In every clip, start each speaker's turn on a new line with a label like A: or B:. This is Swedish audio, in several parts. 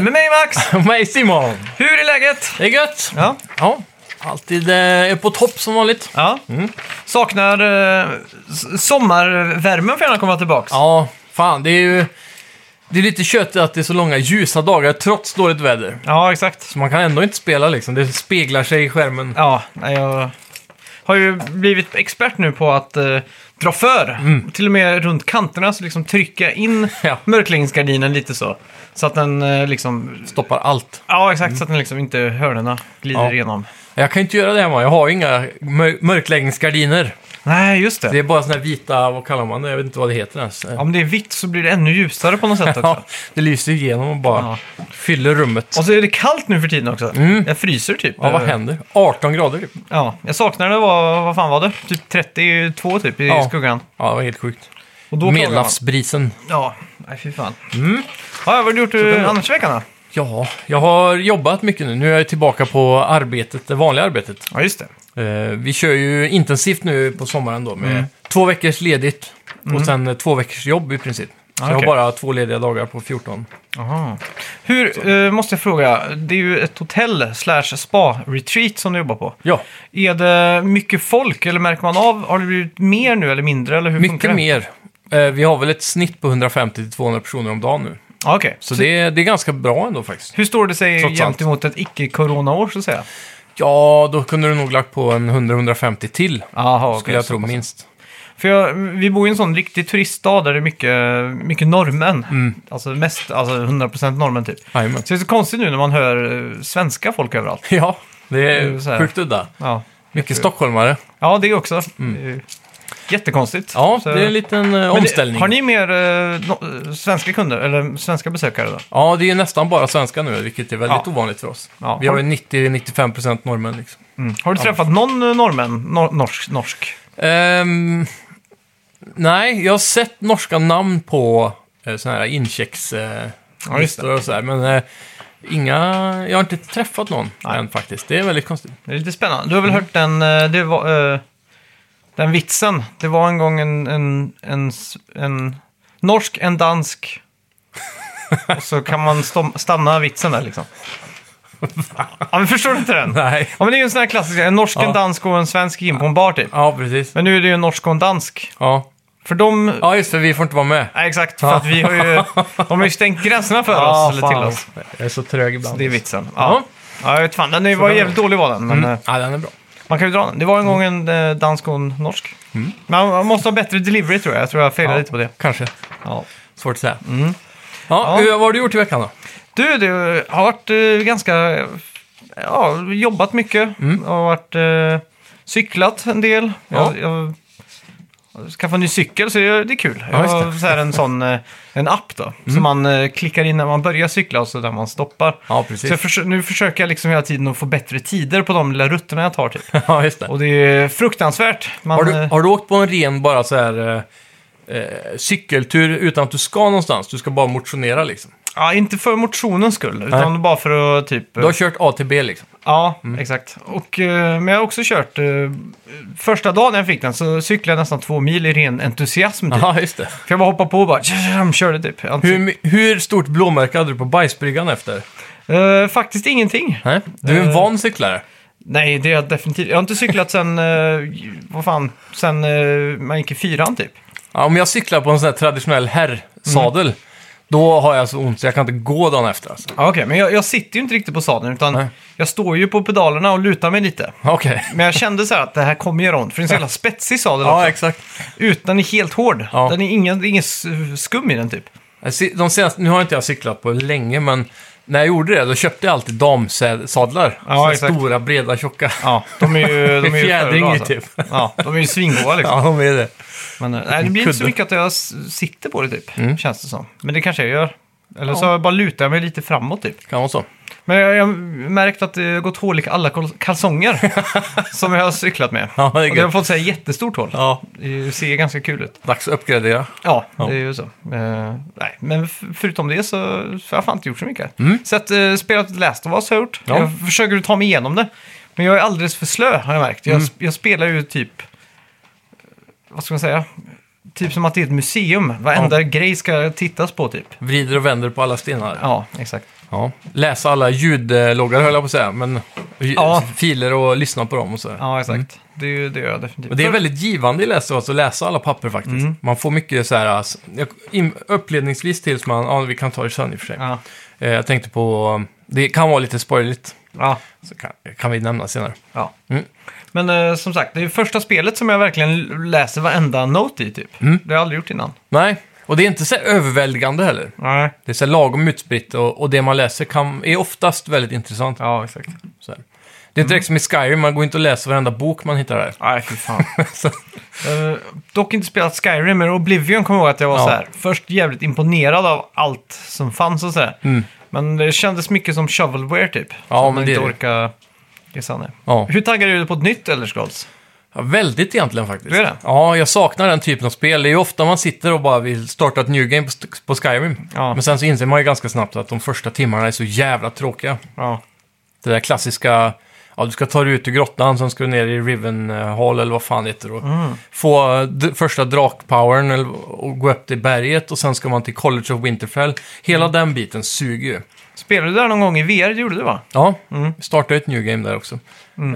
A: mig Max!
B: Och mig Simon.
A: Hur är läget?
B: Det är gött.
A: Ja.
B: Ja, alltid eh, är på topp som vanligt.
A: ja. Saknar eh, s- sommarvärmen får gärna komma tillbaks.
B: Ja, fan det är ju... Det är lite kött att det är så långa ljusa dagar trots dåligt väder.
A: Ja, exakt.
B: Så man kan ändå inte spela liksom. Det speglar sig i skärmen.
A: Ja, nej, jag har ju blivit expert nu på att eh, dra för. Till och med runt kanterna, så liksom trycka in
B: Ja.
A: mörkläggningsgardinen lite så. Så att den eh, liksom...
B: Stoppar allt.
A: Ja, exakt. Så att den liksom inte hörnerna glider
B: Ja.
A: igenom.
B: Jag kan ju inte göra det hemma. Jag har ju inga mör- mörkläggningsgardiner.
A: Nej, just det.
B: Det är bara såna här vita, vad kallar man det? Jag vet inte vad det heter ens.
A: Om det är vitt så blir det ännu ljusare på något sätt också.
B: Ja, det lyser igenom och bara fyller rummet.
A: Och så är det kallt nu för tiden också. Jag fryser typ.
B: Mm. Ja, vad händer? 18 grader typ.
A: Ja, jag saknar det var, vad fan var det? Typ 32 typ i
B: Ja.
A: skuggan.
B: Ja, det var helt sjukt.
A: Och då klagar man.
B: Medelhavsbrisen.
A: Ja, nej fy fan.
B: Mm.
A: Ja, vad har du gjort eh, annars i veckan då?
B: Ja, jag har jobbat mycket nu. Nu är jag tillbaka på arbetet, det vanliga arbetet.
A: Ja, just det.
B: Eh, vi kör ju intensivt nu på sommaren då
A: Mm.
B: med två veckors ledigt och sen eh, två veckors jobb i princip. Så
A: Ah,
B: jag har
A: Mm. okej.
B: bara två lediga dagar på 14.
A: Aha. Hur, eh, måste jag fråga, det är ju ett hotell slash spa-retreat som du jobbar på.
B: Ja,
A: Är det mycket folk eller märker man av, har det blivit mer nu eller mindre? Eller hur funkar
B: mycket
A: det?
B: mer. Eh, vi har väl ett snitt på 150-200 personer om dagen nu.
A: Ja, okej.
B: Så det, det är ganska bra ändå faktiskt.
A: Hur står det sig
B: Trots allt.
A: gentemot ett icke-corona-år så att säga?
B: Ja, då kunde du nog lagt på en 100-150 till.
A: Aha, okej.
B: Skulle jag tro minst.
A: För jag, vi bor i en sån riktig turiststad där det är mycket, mycket norrmän.
B: Mm.
A: Alltså mest, alltså 100% norrmän typ.
B: Jajamän.
A: Så det är så konstigt nu när man hör eh, svenska folk överallt.
B: Ja, det
A: Det är ju så
B: är
A: här.
B: sjukt udda.
A: Ja,
B: Mycket stockholmare.
A: ja det är också. Det är ju Jättekonstigt.
B: Mm. Ja,
A: Så-
B: det är en liten eh,
A: Men det-
B: omställning.
A: Har ni mer eh, no, svenska kunder, eller svenska besökare då?
B: Ja, det är ju nästan bara svenska nu, vilket är väldigt ovanligt för oss.
A: Ja. mm.
B: Vi har ju 90-95% norrmän liksom.
A: Har du träffat någon eh, norrmän? Nor- norsk? norsk?
B: Ehm, nej, jag har sett norska namn på eh, sådana här
A: Ja, just det.
B: incheckslistor och sådär, men eh, inga... Jag har inte träffat någon än faktiskt. Det är väldigt konstigt.
A: Det är lite spännande. Du har väl
B: Mm.
A: hört den, eh, det var, eh, den vitsen? Det var en gång en, en, en, s- en norsk, en dansk. Och så kan man stom- stanna vitsen där liksom. Ja, men förstår du inte den?
B: Nej.
A: Ja, men det är ju en sån här klassisk, en norsk, en
B: Ja.
A: dansk och en svensk gick in på en bar typ.
B: Ja, precis.
A: Men nu är det ju en norsk och en dansk.
B: Ja,
A: För de...
B: ja just det, vi får inte vara med.
A: Nej, exakt. För att vi har ju... De har ju stängt gränserna för oss, eller till oss.
B: Jag är så trög ibland.
A: Det är vitsen. Ja,
B: Ja.
A: ja jag vet fan. Den är- var
B: den- Mm.
A: jävligt dålig var den, men... eh,
B: ja, den är bra.
A: Man kan ju dra den. Det var en
B: Mm.
A: gång en eh, dansk och en norsk. Men man måste ha bättre delivery tror jag. Jag tror jag failade
B: Ja,
A: lite på det.
B: Kanske.
A: Ja.
B: Svårt att säga. Ja,
A: Mm. Ja.
B: Vad har du gjort i veckan då?
A: Du, det har varit eh, ganska... Ja, jobbat mycket. Har varit... Eh, cyklat en del.
B: Mm. Ja.
A: Jag, jag skaffade en ny cykel så det, det är kul.
B: Ja,
A: jag
B: just det. Mm.
A: har så här en sån... Eh, en app då. Som man eh, klickar in när man börjar cykla och så där man stoppar.
B: Ja,
A: Så
B: precis.
A: jag försö- nu försöker jag liksom hela tiden att få bättre tider på de lilla rutterna jag tar typ.
B: ja, just det.
A: Och det är fruktansvärt. Man,
B: Har du,
A: eh,
B: har du åkt på en ren bara så här eh, eh, cykeltur utan att du ska någonstans? Du ska bara motionera liksom.
A: Ja, inte för motionens skull, utan bara för att typ...
B: Du har kört A till B liksom.
A: Ja, exakt. Och, eh, men jag har också kört... eh, Första dagen jag fick den så cyklade jag nästan två mil i ren entusiasm. Typ.
B: Ja, just det.
A: För jag bara hoppade på och bara tjam, körde typ. Jag-
B: Hur, my- hur stort blåmärke hade du på bajsbryggan efter?
A: Eh, faktiskt ingenting.
B: Nej? Du är en
A: Eh.
B: van cyklare.
A: Nej, det är jag definitivt. Jag har inte cyklat sen... eh, vad fan? Sen eh, man gick i fyran typ.
B: Ja, om jag cyklar på en sån här traditionell herrsadel, då har jag så ont så jag kan inte gå dagen efter. Alltså.
A: Ja, Okej, men jag, jag sitter ju inte riktigt på sadeln utan
B: Nej.
A: jag står ju på pedalerna och lutar mig lite.
B: Okej.
A: Men jag kände så här att det här kommer göra ont, för det är en så jävla spetsig sadel också.
B: Ja, exakt.
A: Ut, den är helt hård.
B: Ja.
A: Den är ingen, det är ingen s- skum i den typ.
B: Jag cy- De senaste, nu har inte jag cyklat på länge, men när jag gjorde det, då köpte jag alltid damsadlar.
A: Ja,
B: Såna
A: exakt.
B: stora, breda, tjocka.
A: Ja, de är ju... De är ju
B: Fjädring
A: föredrar, alltså.
B: i typ.
A: Ja, de är ju svingåa liksom.
B: Ja, de är det.
A: Men, eh, nej, det blir inte så
B: Kudde.
A: mycket att jag s- sitter på det typ, känns det som. Men det kanske jag gör. Eller så bara lutar jag mig lite framåt typ.
B: Kan vara så.
A: Men jag jag har märkt att det har gått hål i alla kol- kalsonger som jag har cyklat med.
B: Ja, det är
A: Och det har
B: gött.
A: fått så här jättestort hål.
B: Ja,
A: Det ser ganska kul ut.
B: dags att uppgradera.
A: Ja, det är ju så. Eh, nej, men f- förutom det så har jag fan inte gjort så mycket. Så att eh, spelat Last of Us har jag gjort.
B: Mm. Ja.
A: Jag försöker ta mig igenom det. Men jag är alldeles för slö har jag märkt.
B: Mm.
A: Jag, jag spelar ju typ, vad ska man säga? Typ som att det är ett museum. Varenda grej ska tittas på typ.
B: Vrider och vänder på alla stenar.
A: Ja, exakt.
B: Ja. Läsa alla ljudloggar höll jag på att säga, men
A: Ja.
B: filer och lyssna på dem och sådär.
A: Ja, exakt. Det, är ju- det gör jag definitivt.
B: Mm. Och det är väldigt givande i läsa, alltså, att läsa alla papper faktiskt.
A: Mm.
B: Man får mycket så här, alltså, jag- in- uppledningsvis tills man, ja vi kan ta det sen i och för sig.
A: Ja.
B: Eh, jag tänkte på, det kan vara lite spoiligt,
A: Ja,
B: så kan, kan vi nämna senare.
A: ja.
B: Mm.
A: Men eh, som sagt, det är ju första spelet som jag verkligen läser varenda not i typ.
B: Mm.
A: Det har jag aldrig gjort innan.
B: Nej, och det är inte så här överväldigande heller.
A: Nej.
B: Det är så här lagom utspritt och, och det man läser kan, är oftast väldigt intressant.
A: Ja, exakt.
B: Så här. Det är
A: Mm.
B: inte direkt som i Skyrim, man går inte och läser varenda bok man hittar där.
A: Nej, fy fan.
B: Så-
A: Eh, dock inte spelat Skyrim, men Oblivion kommer jag ihåg att jag var
B: Ja.
A: så här. Först jävligt imponerad av allt som fanns och sådär. Men det kändes mycket som shovelware typ.
B: Mm. Ja,
A: som
B: men
A: man
B: det
A: inte
B: är det.
A: orkar gissa ner.
B: ja.
A: Hur taggar du på ett nytt Elder Scrolls?
B: Ja, väldigt egentligen faktiskt.
A: Du är det?
B: Ja, jag saknar den typen av spel. Det är ju ofta man sitter och bara vill starta ett new game på, st- på Skyrim.
A: Ja.
B: Men sen så inser man ju ganska snabbt att de första timmarna är så jävla tråkiga.
A: Ja.
B: Det där klassiska, ja du ska ta dig ut ur grottan, sen ska du ner i Rivenhall eller vad fan det heter. Och
A: Mm.
B: Få eh, d- första drakpowern eller- och gå upp till berget och sen ska man till College of Winterfell. Hela
A: Mm.
B: den biten suger ju.
A: Spelade du där någon gång i VR? Det gjorde du va?
B: Ja,
A: Mm.
B: startade ett new game där också.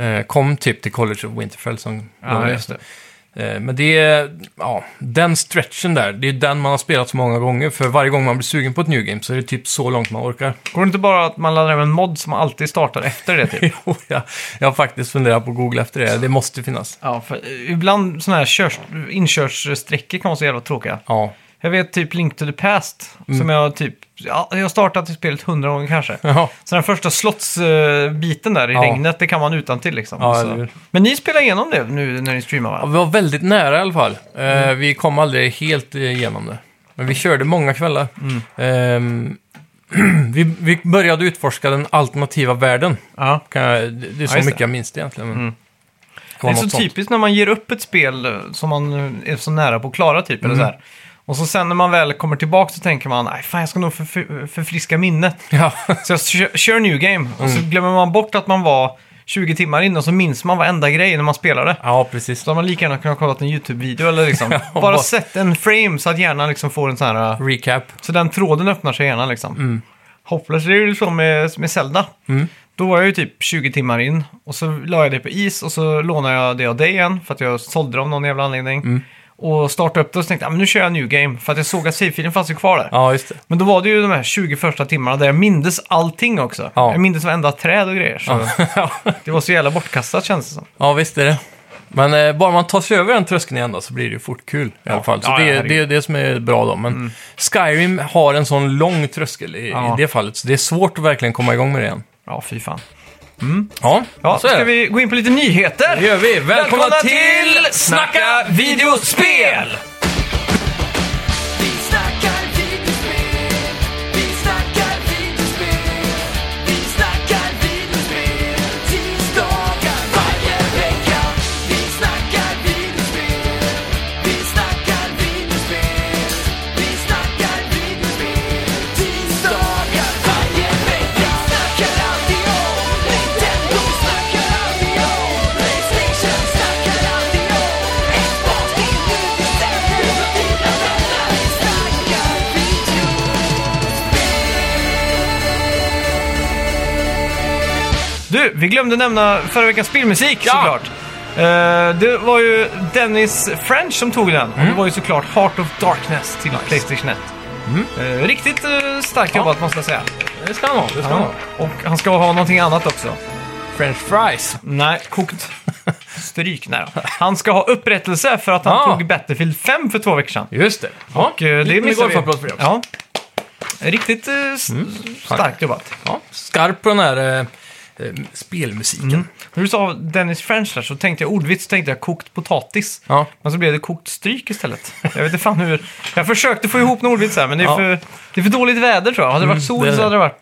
B: Eh, kom typ till College of Winterfell som
A: Ja, just det.
B: Eh, Men det är, ja, den stretchen där, det är den man har spelat så många gånger. För varje gång man blir sugen på ett new game så är det typ så långt man orkar.
A: Går det inte bara att man laddar hem en mod som alltid startar efter det typ?
B: Jo, jag, jag har faktiskt funderat på att googla efter det, det måste finnas.
A: ja, för eh, ibland sådana här körs, inkörssträckor kan vara så jävla tråkiga.
B: Ja,
A: Jag vet typ Link to the Past,
B: Mm.
A: som jag typ... Ja, jag har startat i spelet hundra gånger kanske.
B: ja.
A: Så den första slottsbiten där i
B: Ja.
A: regnet, det kan man utan till liksom.
B: Ja, eller
A: så.
B: hur.
A: Men ni spelar igenom det nu när ni streamar va?
B: vi var väldigt nära i alla fall. Eh,
A: Mm.
B: Vi kom aldrig helt igenom det. Men vi körde många kvällar.
A: Mm.
B: Ehm, vi, vi började utforska den alternativa världen.
A: Ja.
B: Kan jag, det det är så
A: Ja, just
B: mycket
A: det. Mm.
B: jag minns det egentligen. Men
A: Det är så typ. typiskt när man ger upp ett spel eh, som man eh, är så nära på att klara typ. Eller
B: Mm.
A: så här. Och så sen när man väl kommer tillbaka så tänker man, nej fan jag ska nog förf- förfriska minnet.
B: Ja,
A: Så jag kö- kör New Game och
B: Mm.
A: så glömmer man bort att man var 20 timmar in och så minns man varenda grej när man spelade.
B: ja, precis.
A: Så har man lika gärna kunnat kolla en YouTube-video eller liksom. bara
B: bara-
A: sett en frame så att hjärnan liksom får en sån här... eh,
B: Recap.
A: Så den tråden öppnar sig gärna liksom.
B: Mm.
A: Hopplöst, det är ju så med, med Zelda. Då var jag ju typ 20 timmar in och så la jag det på is och så lånade jag det av dig igen för att jag sålde det av någon jävla anledning.
B: Mm.
A: Och startade upp det och så tänkte jag, "Ah, men nu kör jag New Game för att jag såg att save-filen fanns ju kvar där.
B: Ja, just det.
A: Men då var det ju de här 20 första timmarna där jag mindes allting också.
B: Ja.
A: Jag mindes varenda träd och grejer. Så det var så jävla bortkastat känns det som.
B: Ja, visst är det. Men eh, bara man tar sig över den tröskeln igen då, så blir det ju fort kul i alla fall. Så
A: Ja,
B: det,
A: ja,
B: är- det är det som är bra då. Men Skyrim har en sån lång tröskel i,
A: Ja.
B: i det fallet, så det är svårt att verkligen komma igång med det igen.
A: Ja, fy fan.
B: Ja,
A: Ja, så
B: så är
A: ska
B: det.
A: vi gå in på lite nyheter.
B: Det gör vi. Välkomna,
A: Välkomna
B: till
A: till Snacka videospel!
C: Vi snackar videospel, vi snackar videospel, vi snackar videospel, tisdagar varje vecka. Vi snackar videospel, vi snackar videospel, vi snackar videospel, tisdagar varje vecka. Vi snackar alltid om Nintendo, snackar alltid om Playstation, snackar alltid om Xbox, din nu bestämmer du dina vänner. Vi snackar video.
A: Du, vi glömde nämna förra veckans spelmusik såklart. Eh, det var ju Dennis French som tog den.
B: Mm.
A: Och det var ju såklart Heart of Darkness till Playstation 1.
B: Mm.
A: Eh, riktigt eh, starkt jobbat måste jag säga.
B: Det ska han ha. Det ska han ha.
A: Och han ska ha någonting annat också.
B: French fries.
A: Nej, kokt. Stryk nära. Han ska ha upprättelse för att han
B: Ah.
A: tog Battlefield 5 för två veckor sedan.
B: Just det. Ja.
A: Och, eh, det
B: Liten
A: missade vi.
B: golfapplåd för det också. Mm.
A: Ja. Riktigt eh, s- starkt jobbat.
B: Ja. Skarp på den här eh, eh, spelmusiken.
A: När du sa Dennis French där så tänkte jag ordvits tänkte jag kokt potatis.
B: Ja.
A: Men så blev det kokt stryk istället. Jag vet inte fan hur... Jag försökte få ihop en ordvits här men det är,
B: Ja.
A: för, det är för dåligt väder tror jag. Hade det varit
B: Mm,
A: sol
B: det är
A: så
B: det.
A: hade det varit...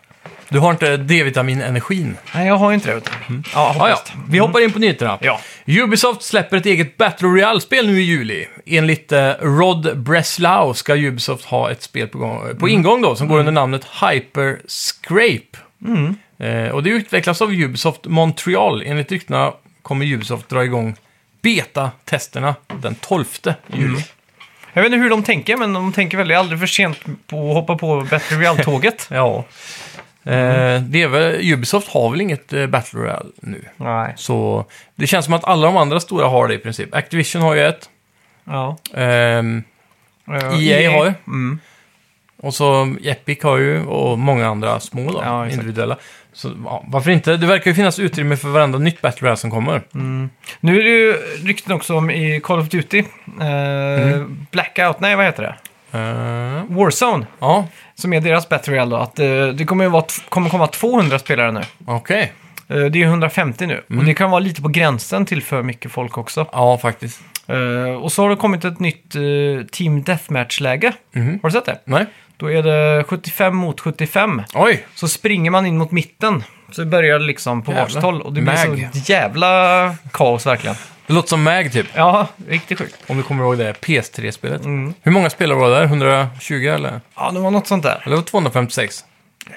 B: Du har inte D-vitamin-energin.
A: Nej, jag har ju inte det. vet du. Ja,
B: Mm. Ja,
A: hoppas.
B: ja. Vi hoppar in på nyheterna.
A: Ja.
B: Ubisoft släpper ett eget Battle Royale-spel nu i juli. Enligt eh, Rod Breslau ska Ubisoft ha ett spel på, gång, eh, på ingång då, som går under namnet Hyper Scrape. Eh, och det utvecklas av Ubisoft Montreal. Enligt ryktena kommer Ubisoft dra igång beta-testerna den 12 juli.
A: Jag vet inte hur de tänker men de tänker väl det är aldrig för sent på att hoppa på Battle Royale-tåget.
B: Ja. Eh, det är väl, Ubisoft har väl inget eh, Battle Royale nu.
A: Nej.
B: Så det känns som att alla de andra stora har det i princip. Activision har ju ett.
A: Ja.
B: ehm,
A: Eh,
B: EA E har ju.
A: Mm.
B: och så Epic har ju och många andra små då,
A: Ja, exakt.
B: individuella. Så ja, varför inte? Det verkar ju finnas utrymme för varenda nytt Battle Royale som kommer.
A: Mm. Nu är det ju rykten också om i Call of Duty. Eh,
B: Mhm.
A: Blackout, nej vad heter det?
B: Eh,
A: Warzone,
B: ja,
A: som är deras Battle Royale då. Att, eh, det kommer ju vara t- kommer komma 200 spelare nu.
B: okej.
A: Eh, det är 150 nu. Och
B: Mm.
A: det kan vara lite på gränsen till för mycket folk också.
B: Ja, faktiskt.
A: Eh, och så har det kommit ett nytt eh, Team Deathmatch-läge.
B: Mhm.
A: Har du sett det?
B: Nej.
A: Då är det 75 mot 75.
B: Oj!
A: Så springer man in mot mitten. Så börjar det liksom på
B: Jävlar.
A: varsitt håll. Och det blir
B: Mag.
A: så jävla kaos verkligen.
B: Det låter som MAG typ,
A: Ja, riktigt sjukt.
B: om du kommer ihåg det PS3-spelet.
A: Mm.
B: Hur många spelare var det där? 120 eller?
A: Ja, det var något sånt där.
B: Eller var det 256?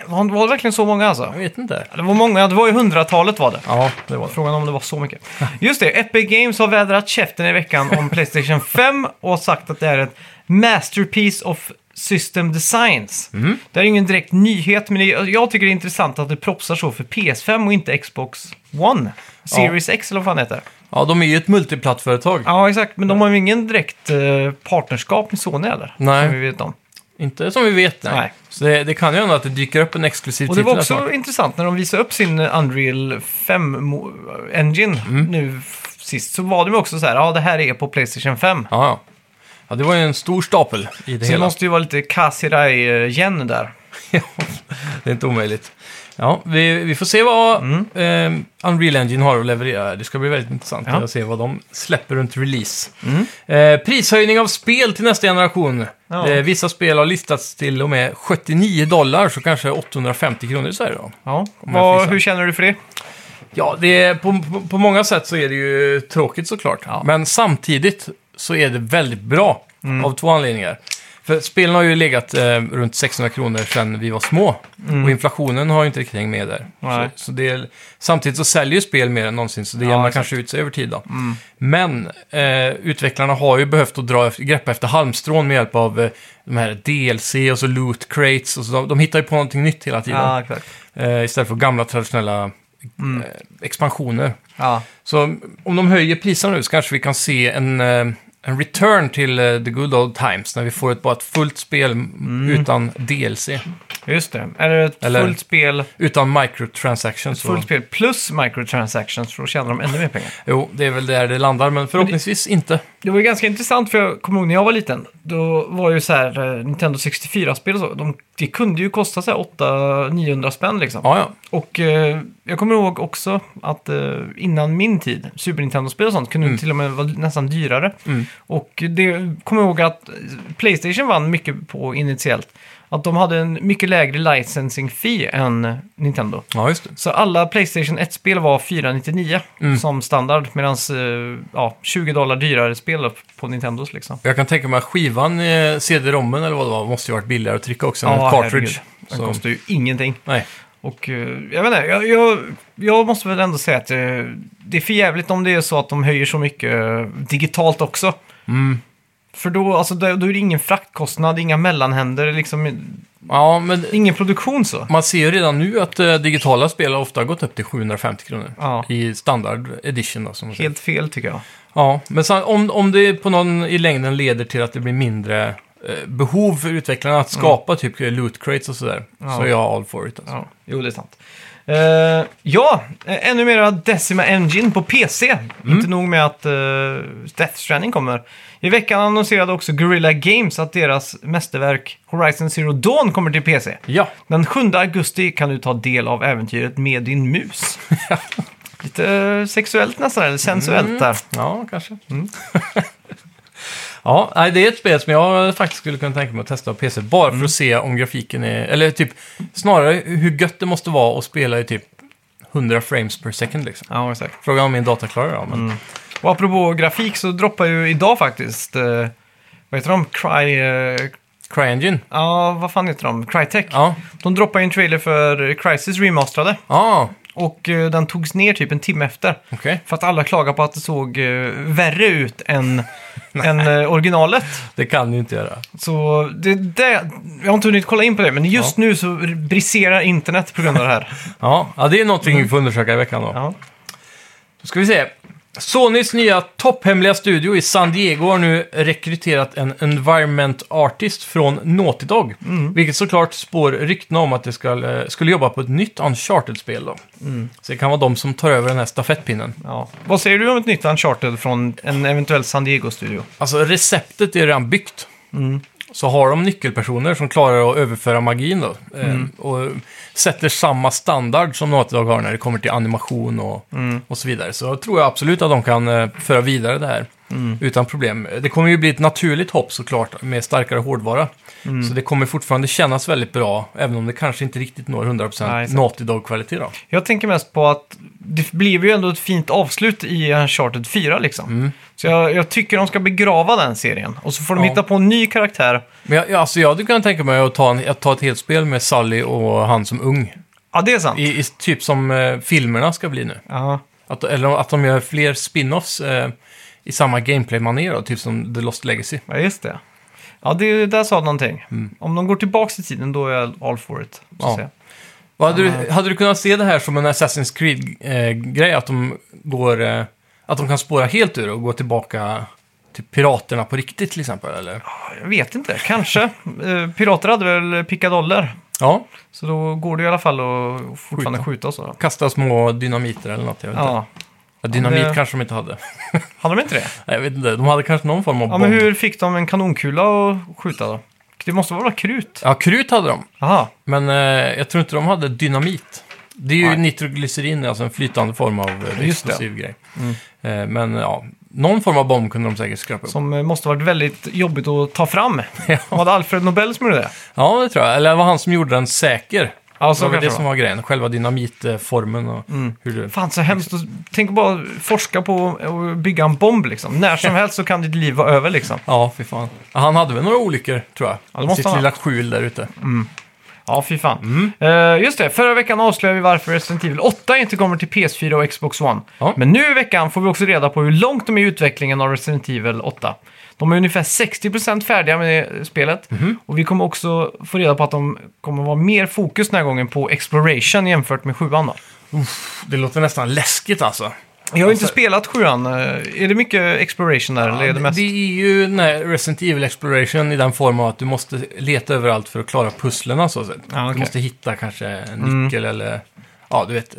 A: Var, var det verkligen så många alltså?
B: Jag vet inte.
A: Det var många, det var ju hundratalet var det.
B: Ja, det var det.
A: Frågan om det var så mycket. Just det, Epic Games har vädrat käften i veckan om Playstation 5 och sagt att det är ett masterpiece of system designs. Det är ingen direkt nyhet, men det, jag tycker det är intressant att det propsar så för PS5 och inte Xbox One. Series X eller vad fan det heter.
B: Ja, de är ju ett multiplattföretag.
A: Ja, exakt. Men de har ju ingen direkt eh, partnerskap med Sony eller?
B: Nej.
A: Som vi vet om.
B: Inte som vi vet, nej.
A: Nej.
B: Så det, det kan ju hända att det dyker upp en exklusiv
A: Och det
B: titel
A: var
B: här
A: också
B: snart.
A: intressant när de visade upp sin Unreal 5-engine
B: Mm.
A: nu f- sist. Så var det ju också så här, ja det här är på Playstation 5.
B: Ja, ja. ja, det var ju en stor stapel i
A: Så
B: det
A: det
B: hela.
A: måste ju vara lite Kasirai-gen där.
B: Ja, det är inte omöjligt. Ja, vi, vi får se vad
A: Mm.
B: eh, Unreal Engine har att leverera. Det ska bli väldigt intressant
A: Ja. Mm.
B: att se vad de släpper runt release. Eh, prishöjning av spel till nästa generation.
A: Ja.
B: Eh, vissa spel har listats till och med 79 dollar, så kanske 850 kronor i Sverige då.
A: Ja.
B: jag
A: Vad,
B: fisa.
A: hur känner du för det?
B: Ja, det är, på, på, på många sätt så är det ju tråkigt såklart. Men samtidigt så är det väldigt bra
A: Mm.
B: av två anledningar. För spelen har ju legat eh, runt 600 kronor sedan vi var små. Och inflationen har ju inte riktigt hängt med där.
A: Mm. Nej.
B: Så, så det är, samtidigt så säljer ju spel mer än någonsin, så det jämnar
A: exakt. Mm.
B: kanske ut sig över tid. Då. Men eh, utvecklarna har ju behövt att dra, efter- greppa efter halmstrån med hjälp av eh, de här DLC och så loot crates. Och så, de, de hittar ju på någonting nytt hela tiden.
A: Ja, exakt.
B: Eh, istället för gamla traditionella eh, expansioner.
A: Ja.
B: Så om de höjer priserna nu så kanske vi kan se en, eh, en return till eh, the good old times när vi får ett, bara ett fullt spel utan DLC,
A: Just det. Är det ett
B: Eller-
A: fullt spel,
B: utan microtransactions.
A: fullt
B: så-
A: spel plus microtransactions för då tjänar de ännu mer pengar?
B: Jo, det är väl där det landar, men förhoppningsvis inte.
A: Det var ju ganska intressant för jag kommer ihåg när jag var liten. Då var ju så här eh, Nintendo 64-spel och så. De, det kunde ju kosta så här 800-900 spänn liksom.
B: Ja, ja.
A: Och eh, jag kommer ihåg också att eh, innan min tid, Super Nintendo-spel och sånt, kunde
B: Mm.
A: till och med vara nästan dyrare. Och det kommer jag ihåg att Playstation vann mycket på initiellt. Att de hade en mycket lägre licensing fee än Nintendo.
B: ja just det.
A: Så alla Playstation 1-spel var 499
B: Mm.
A: som standard, medan eh, ja, 20 dollar dyrare spel på Nintendos liksom.
B: Jag kan tänka mig att skivan, eh, CD-rommen eller vad det var, måste ju varit billigare att trycka också än
A: Ja,
B: ett cartridge.
A: herregud. Den
B: Så,
A: kostar ju ingenting.
B: nej.
A: Och eh, jag vet inte, jag, jag, jag måste väl ändå säga att eh, det är för jävligt om det är så att de höjer så mycket eh, digitalt också.
B: Mm.
A: För då, alltså, då då är det ingen fraktkostnad, inga mellanhänder, liksom,
B: Ja, men
A: ingen produktion så.
B: Man ser ju redan nu att eh, digitala spel har ofta gått upp till 750 kronor
A: Ja.
B: i standard edition. Då, som man säger.
A: Helt fel tycker jag.
B: Ja, men sen, om, om det på någon i längden leder till att det blir mindre eh, behov för utvecklarna
A: Mm.
B: att skapa typ loot crates och sådär, så är jag all for it. Alltså.
A: Ja, jo, det är sant. Eh, ja, eh, ännu mera Decima Engine på PC. Inte nog med att eh, Death Stranding kommer. I veckan annonserade också Guerrilla Games att deras mästerverk Horizon Zero Dawn kommer till PC.
B: Ja.
A: Den 7 augusti kan du ta del av äventyret med din mus. Lite eh, sexuellt nästan, eller sensuellt där.
B: ja, kanske.
A: Mm.
B: ja, nej, det är ett spel som jag faktiskt skulle kunna tänka mig att testa på PC, bara
A: Mm.
B: för att se om grafiken är, eller typ snarare hur gött det måste vara att spela i typ 100 frames per second liksom.
A: Ja, exakt.
B: Frågan om min data klarar det, ja, men
A: Mm. Och apropå grafik så droppar ju idag faktiskt, eh, vad heter de? Cry... eh,
B: CryEngine.
A: Ja, vad fan heter de? Crytek.
B: Ja,
A: De droppade ju en trailer för Crisis Remasterade
B: ja
A: och eh, den togs ner typ en timme efter.
B: okej.
A: För att alla klagade på att det såg eh, värre ut än än eh, originalet.
B: Det kan du ju inte göra.
A: Så det, det, jag har inte hunnit kolla in på det, men just nu så briserar internet på grund av det här.
B: Ja, ja det är någonting vi får undersöka i veckan då.
A: Ja.
B: Då ska vi se. Sonys nya topphemliga studio i San Diego har nu rekryterat en environment artist från Naughty Dog. Vilket såklart spår rykten om att det ska, eh, skulle jobba på ett nytt Uncharted-spel då. Så det kan vara de som tar över den här stafettpinnen.
A: Ja. Vad säger du om ett nytt Uncharted från en eventuell San Diego-studio?
B: Alltså receptet är redan byggt. Så har de nyckelpersoner som klarar att överföra magin då. eh, Och sätter samma standard som Naughty Dog har när det kommer till animation och, och så vidare. Så jag tror jag absolut att de kan eh, föra vidare det här. Utan problem. Det kommer ju bli ett naturligt hopp såklart med starkare hårdvara. Så det kommer fortfarande kännas väldigt bra. Även om det kanske inte riktigt når 100%
A: Nej, sant.
B: Naughty Dog-kvalitet då.
A: Jag tänker mest på att det blev ju ändå ett fint avslut i Uncharted 4 liksom. Så jag, jag tycker de ska begrava den serien. Och så får de
B: Mm. Ja.
A: hitta på en ny karaktär.
B: Men jag, jag- alltså jag hade kunnat tänka mig att ta, en, att ta ett helt spel med Sally och han som ung.
A: Ja, det är sant.
B: I, i, typ som eh, filmerna ska bli nu.
A: Ja.
B: Att, eller att de gör fler spin-offs eh, i samma gameplay-manér då, typ som The Lost Legacy.
A: ja, just det. Ja, det, där sa du någonting. Om de går tillbaka i tiden, då är jag all for it. Så
B: Mm. Ja.
A: att säga.
B: Vad Hade, du, hade du kunnat se det här som en Assassin's Creed-grej? att de går... Eh, att de kan spåra helt ur och gå tillbaka till piraterna på riktigt till exempel, eller?
A: Jag vet inte, kanske. Eh, Pirater hade väl pickadoller.
B: Ja,
A: Så då går det i alla fall att fortfarande skjuta,
B: Skjuta.
A: och så.
B: kasta små dynamiter eller något, jag vet inte.
A: Ja.
B: Ja, dynamit
A: det-
B: kanske de inte hade.
A: Hade de inte det?
B: Nej, jag vet inte, de hade kanske någon form av
A: Ja,
B: bomb.
A: men hur fick de en kanonkula att skjuta då? Det måste vara krut?
B: ja, krut hade de,
A: Jaha,
B: men eh, jag tror inte de hade dynamit. Det är ju
A: Nej.
B: nitroglycerin, alltså en flytande form av eh,
A: Just det.
B: explosiv grej. Eh, men ja, någon form av bomb kunde de säkert skrapa upp.
A: som eh, måste varit väldigt jobbigt att ta fram. Var det Alfred Nobel som gjorde det?
B: Ja, det tror jag. Eller det var han som gjorde den säker.
A: Ja,
B: Så det var
A: Alltså, kanske
B: det som var grejen. Själva dynamitformen och hur det...
A: Fan så hemskt. att- Tänk att bara forska på och bygga en bomb liksom. När som helst så kan ditt liv vara över liksom.
B: Ja, fy fan. Ja, Han hade väl några olyckor, tror jag.
A: det måste
B: Sitt
A: han ha.
B: lilla skjul där ute.
A: Ja, fy fan.
B: Mm.
A: Eh, just det, förra veckan avslöjade vi varför Resident Evil 8 inte kommer till PS4 och Xbox One.
B: Ja.
A: Men nu i veckan får vi också reda på hur långt de är i utvecklingen av Resident Evil 8. De är ungefär 60% färdiga med spelet.
B: Mhm.
A: Och vi kommer också få reda på att de kommer vara mer fokus den här gången på exploration jämfört med 7an. Då.
B: Det låter nästan läskigt alltså.
A: Jag har inte spelat 7an. eh, Är det mycket exploration där? eller är det mest...
B: det är ju den här Resident Evil Exploration i den formen att du måste leta överallt för att klara pusslen. Så att säga.
A: Ja, okej. Mm.
B: Du måste hitta kanske en nyckel eller... Ja, du vet.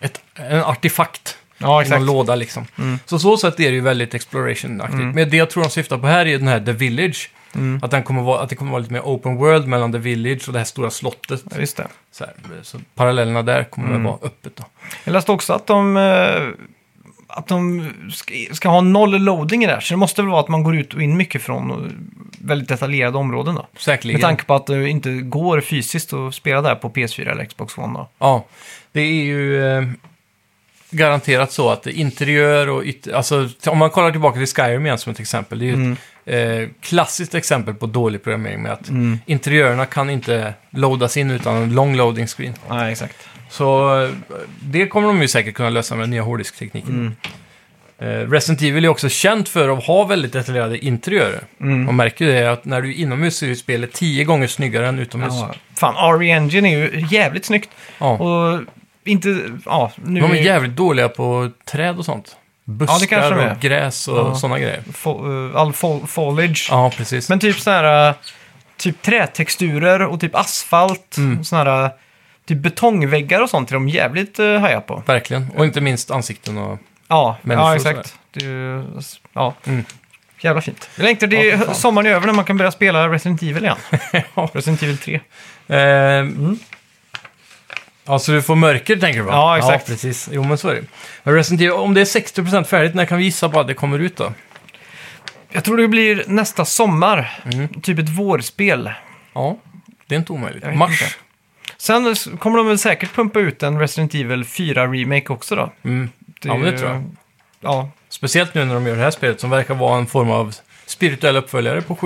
B: Ett, en artefakt.
A: Ja,
B: I någon låda liksom.
A: Mm.
B: Så så sätt är det ju väldigt exploration-aktigt. Men det jag tror de syftar på här är ju den här The Village.
A: Mm.
B: Att, den kommer vara, att det kommer vara lite mer open world mellan The Village och det här stora slottet.
A: Ja, Mm. just det.
B: Så, här, så parallellerna där kommer väl vara öppet då.
A: Jag läste också att de, eh, att de ska, ska ha noll loading i det här. Så det måste väl vara att man går ut och in mycket från eh, väldigt detaljerade områden då.
B: Säkerligen.
A: Med tanke på att det inte går fysiskt att spela där på PS4 eller Xbox One då.
B: Ja, det är ju eh, garanterat så att interiör och ytter... Alltså t- om man kollar tillbaka till Skyrim igen som ett exempel. Det är ju
A: Mm.
B: ett eh, klassiskt exempel på dålig programmering med
A: Mm.
B: att interiörerna kan inte loadas in utan en long loading screen.
A: Nej, exakt.
B: Så eh, det kommer de ju säkert kunna lösa med den nya hårddisktekniken.
A: Mm.
B: Eh, Resident Evil är också känt för att ha väldigt detaljerade interiörer.
A: Mm.
B: Man märker ju det att när du är inomhus så är ju spelet tio gånger snyggare än utomhus. Ja,
A: Fan, RE Engine är ju jävligt snyggt. Och inte, ja, nu
B: De är
A: är ju
B: jävligt dåliga på träd och sånt.
A: det
B: Buskar
A: kanske de är.
B: och gräs och
A: Ja.
B: sådana grejer.
A: fo- eh, all fo- foliage.
B: Ja, precis.
A: Men typ sådana här, eh, typ trätexturer och typ asfalt. Mm. Sådana här, eh, typ betongväggar och sånt är de jävligt uh, haja på.
B: Verkligen. Och inte minst ansikten och...
A: Ja,
B: människor
A: ja
B: och
A: exakt. Det är ju, ja.
B: Mm.
A: Jävla fint. Jag längtar till
B: Ja, för fan.
A: sommaren är över när man kan börja spela Resident Evil igen.
B: Ja.
A: Resident Evil 3.
B: Eh,
A: Ehm,
B: Ja, så Alltså, du får mörker tänker du va?
A: mm. Ja, exakt.
B: Ja, precis. Jo, men så är det. Men Resident Evil, om det är 60% färdigt, när kan vi gissa på att det kommer ut då?
A: Jag tror det blir nästa sommar.
B: Mm.
A: Typ ett vårspel.
B: Ja, det är inte omöjligt.
A: vet inte.
B: Mars.
A: Sen s- kommer de väl säkert pumpa ut en Resident Evil 4 Remake också då.
B: Mm. Ja, men det tror jag.
A: Ja,
B: Speciellt nu när de gör det här spelet som verkar vara en form av spirituell uppföljare på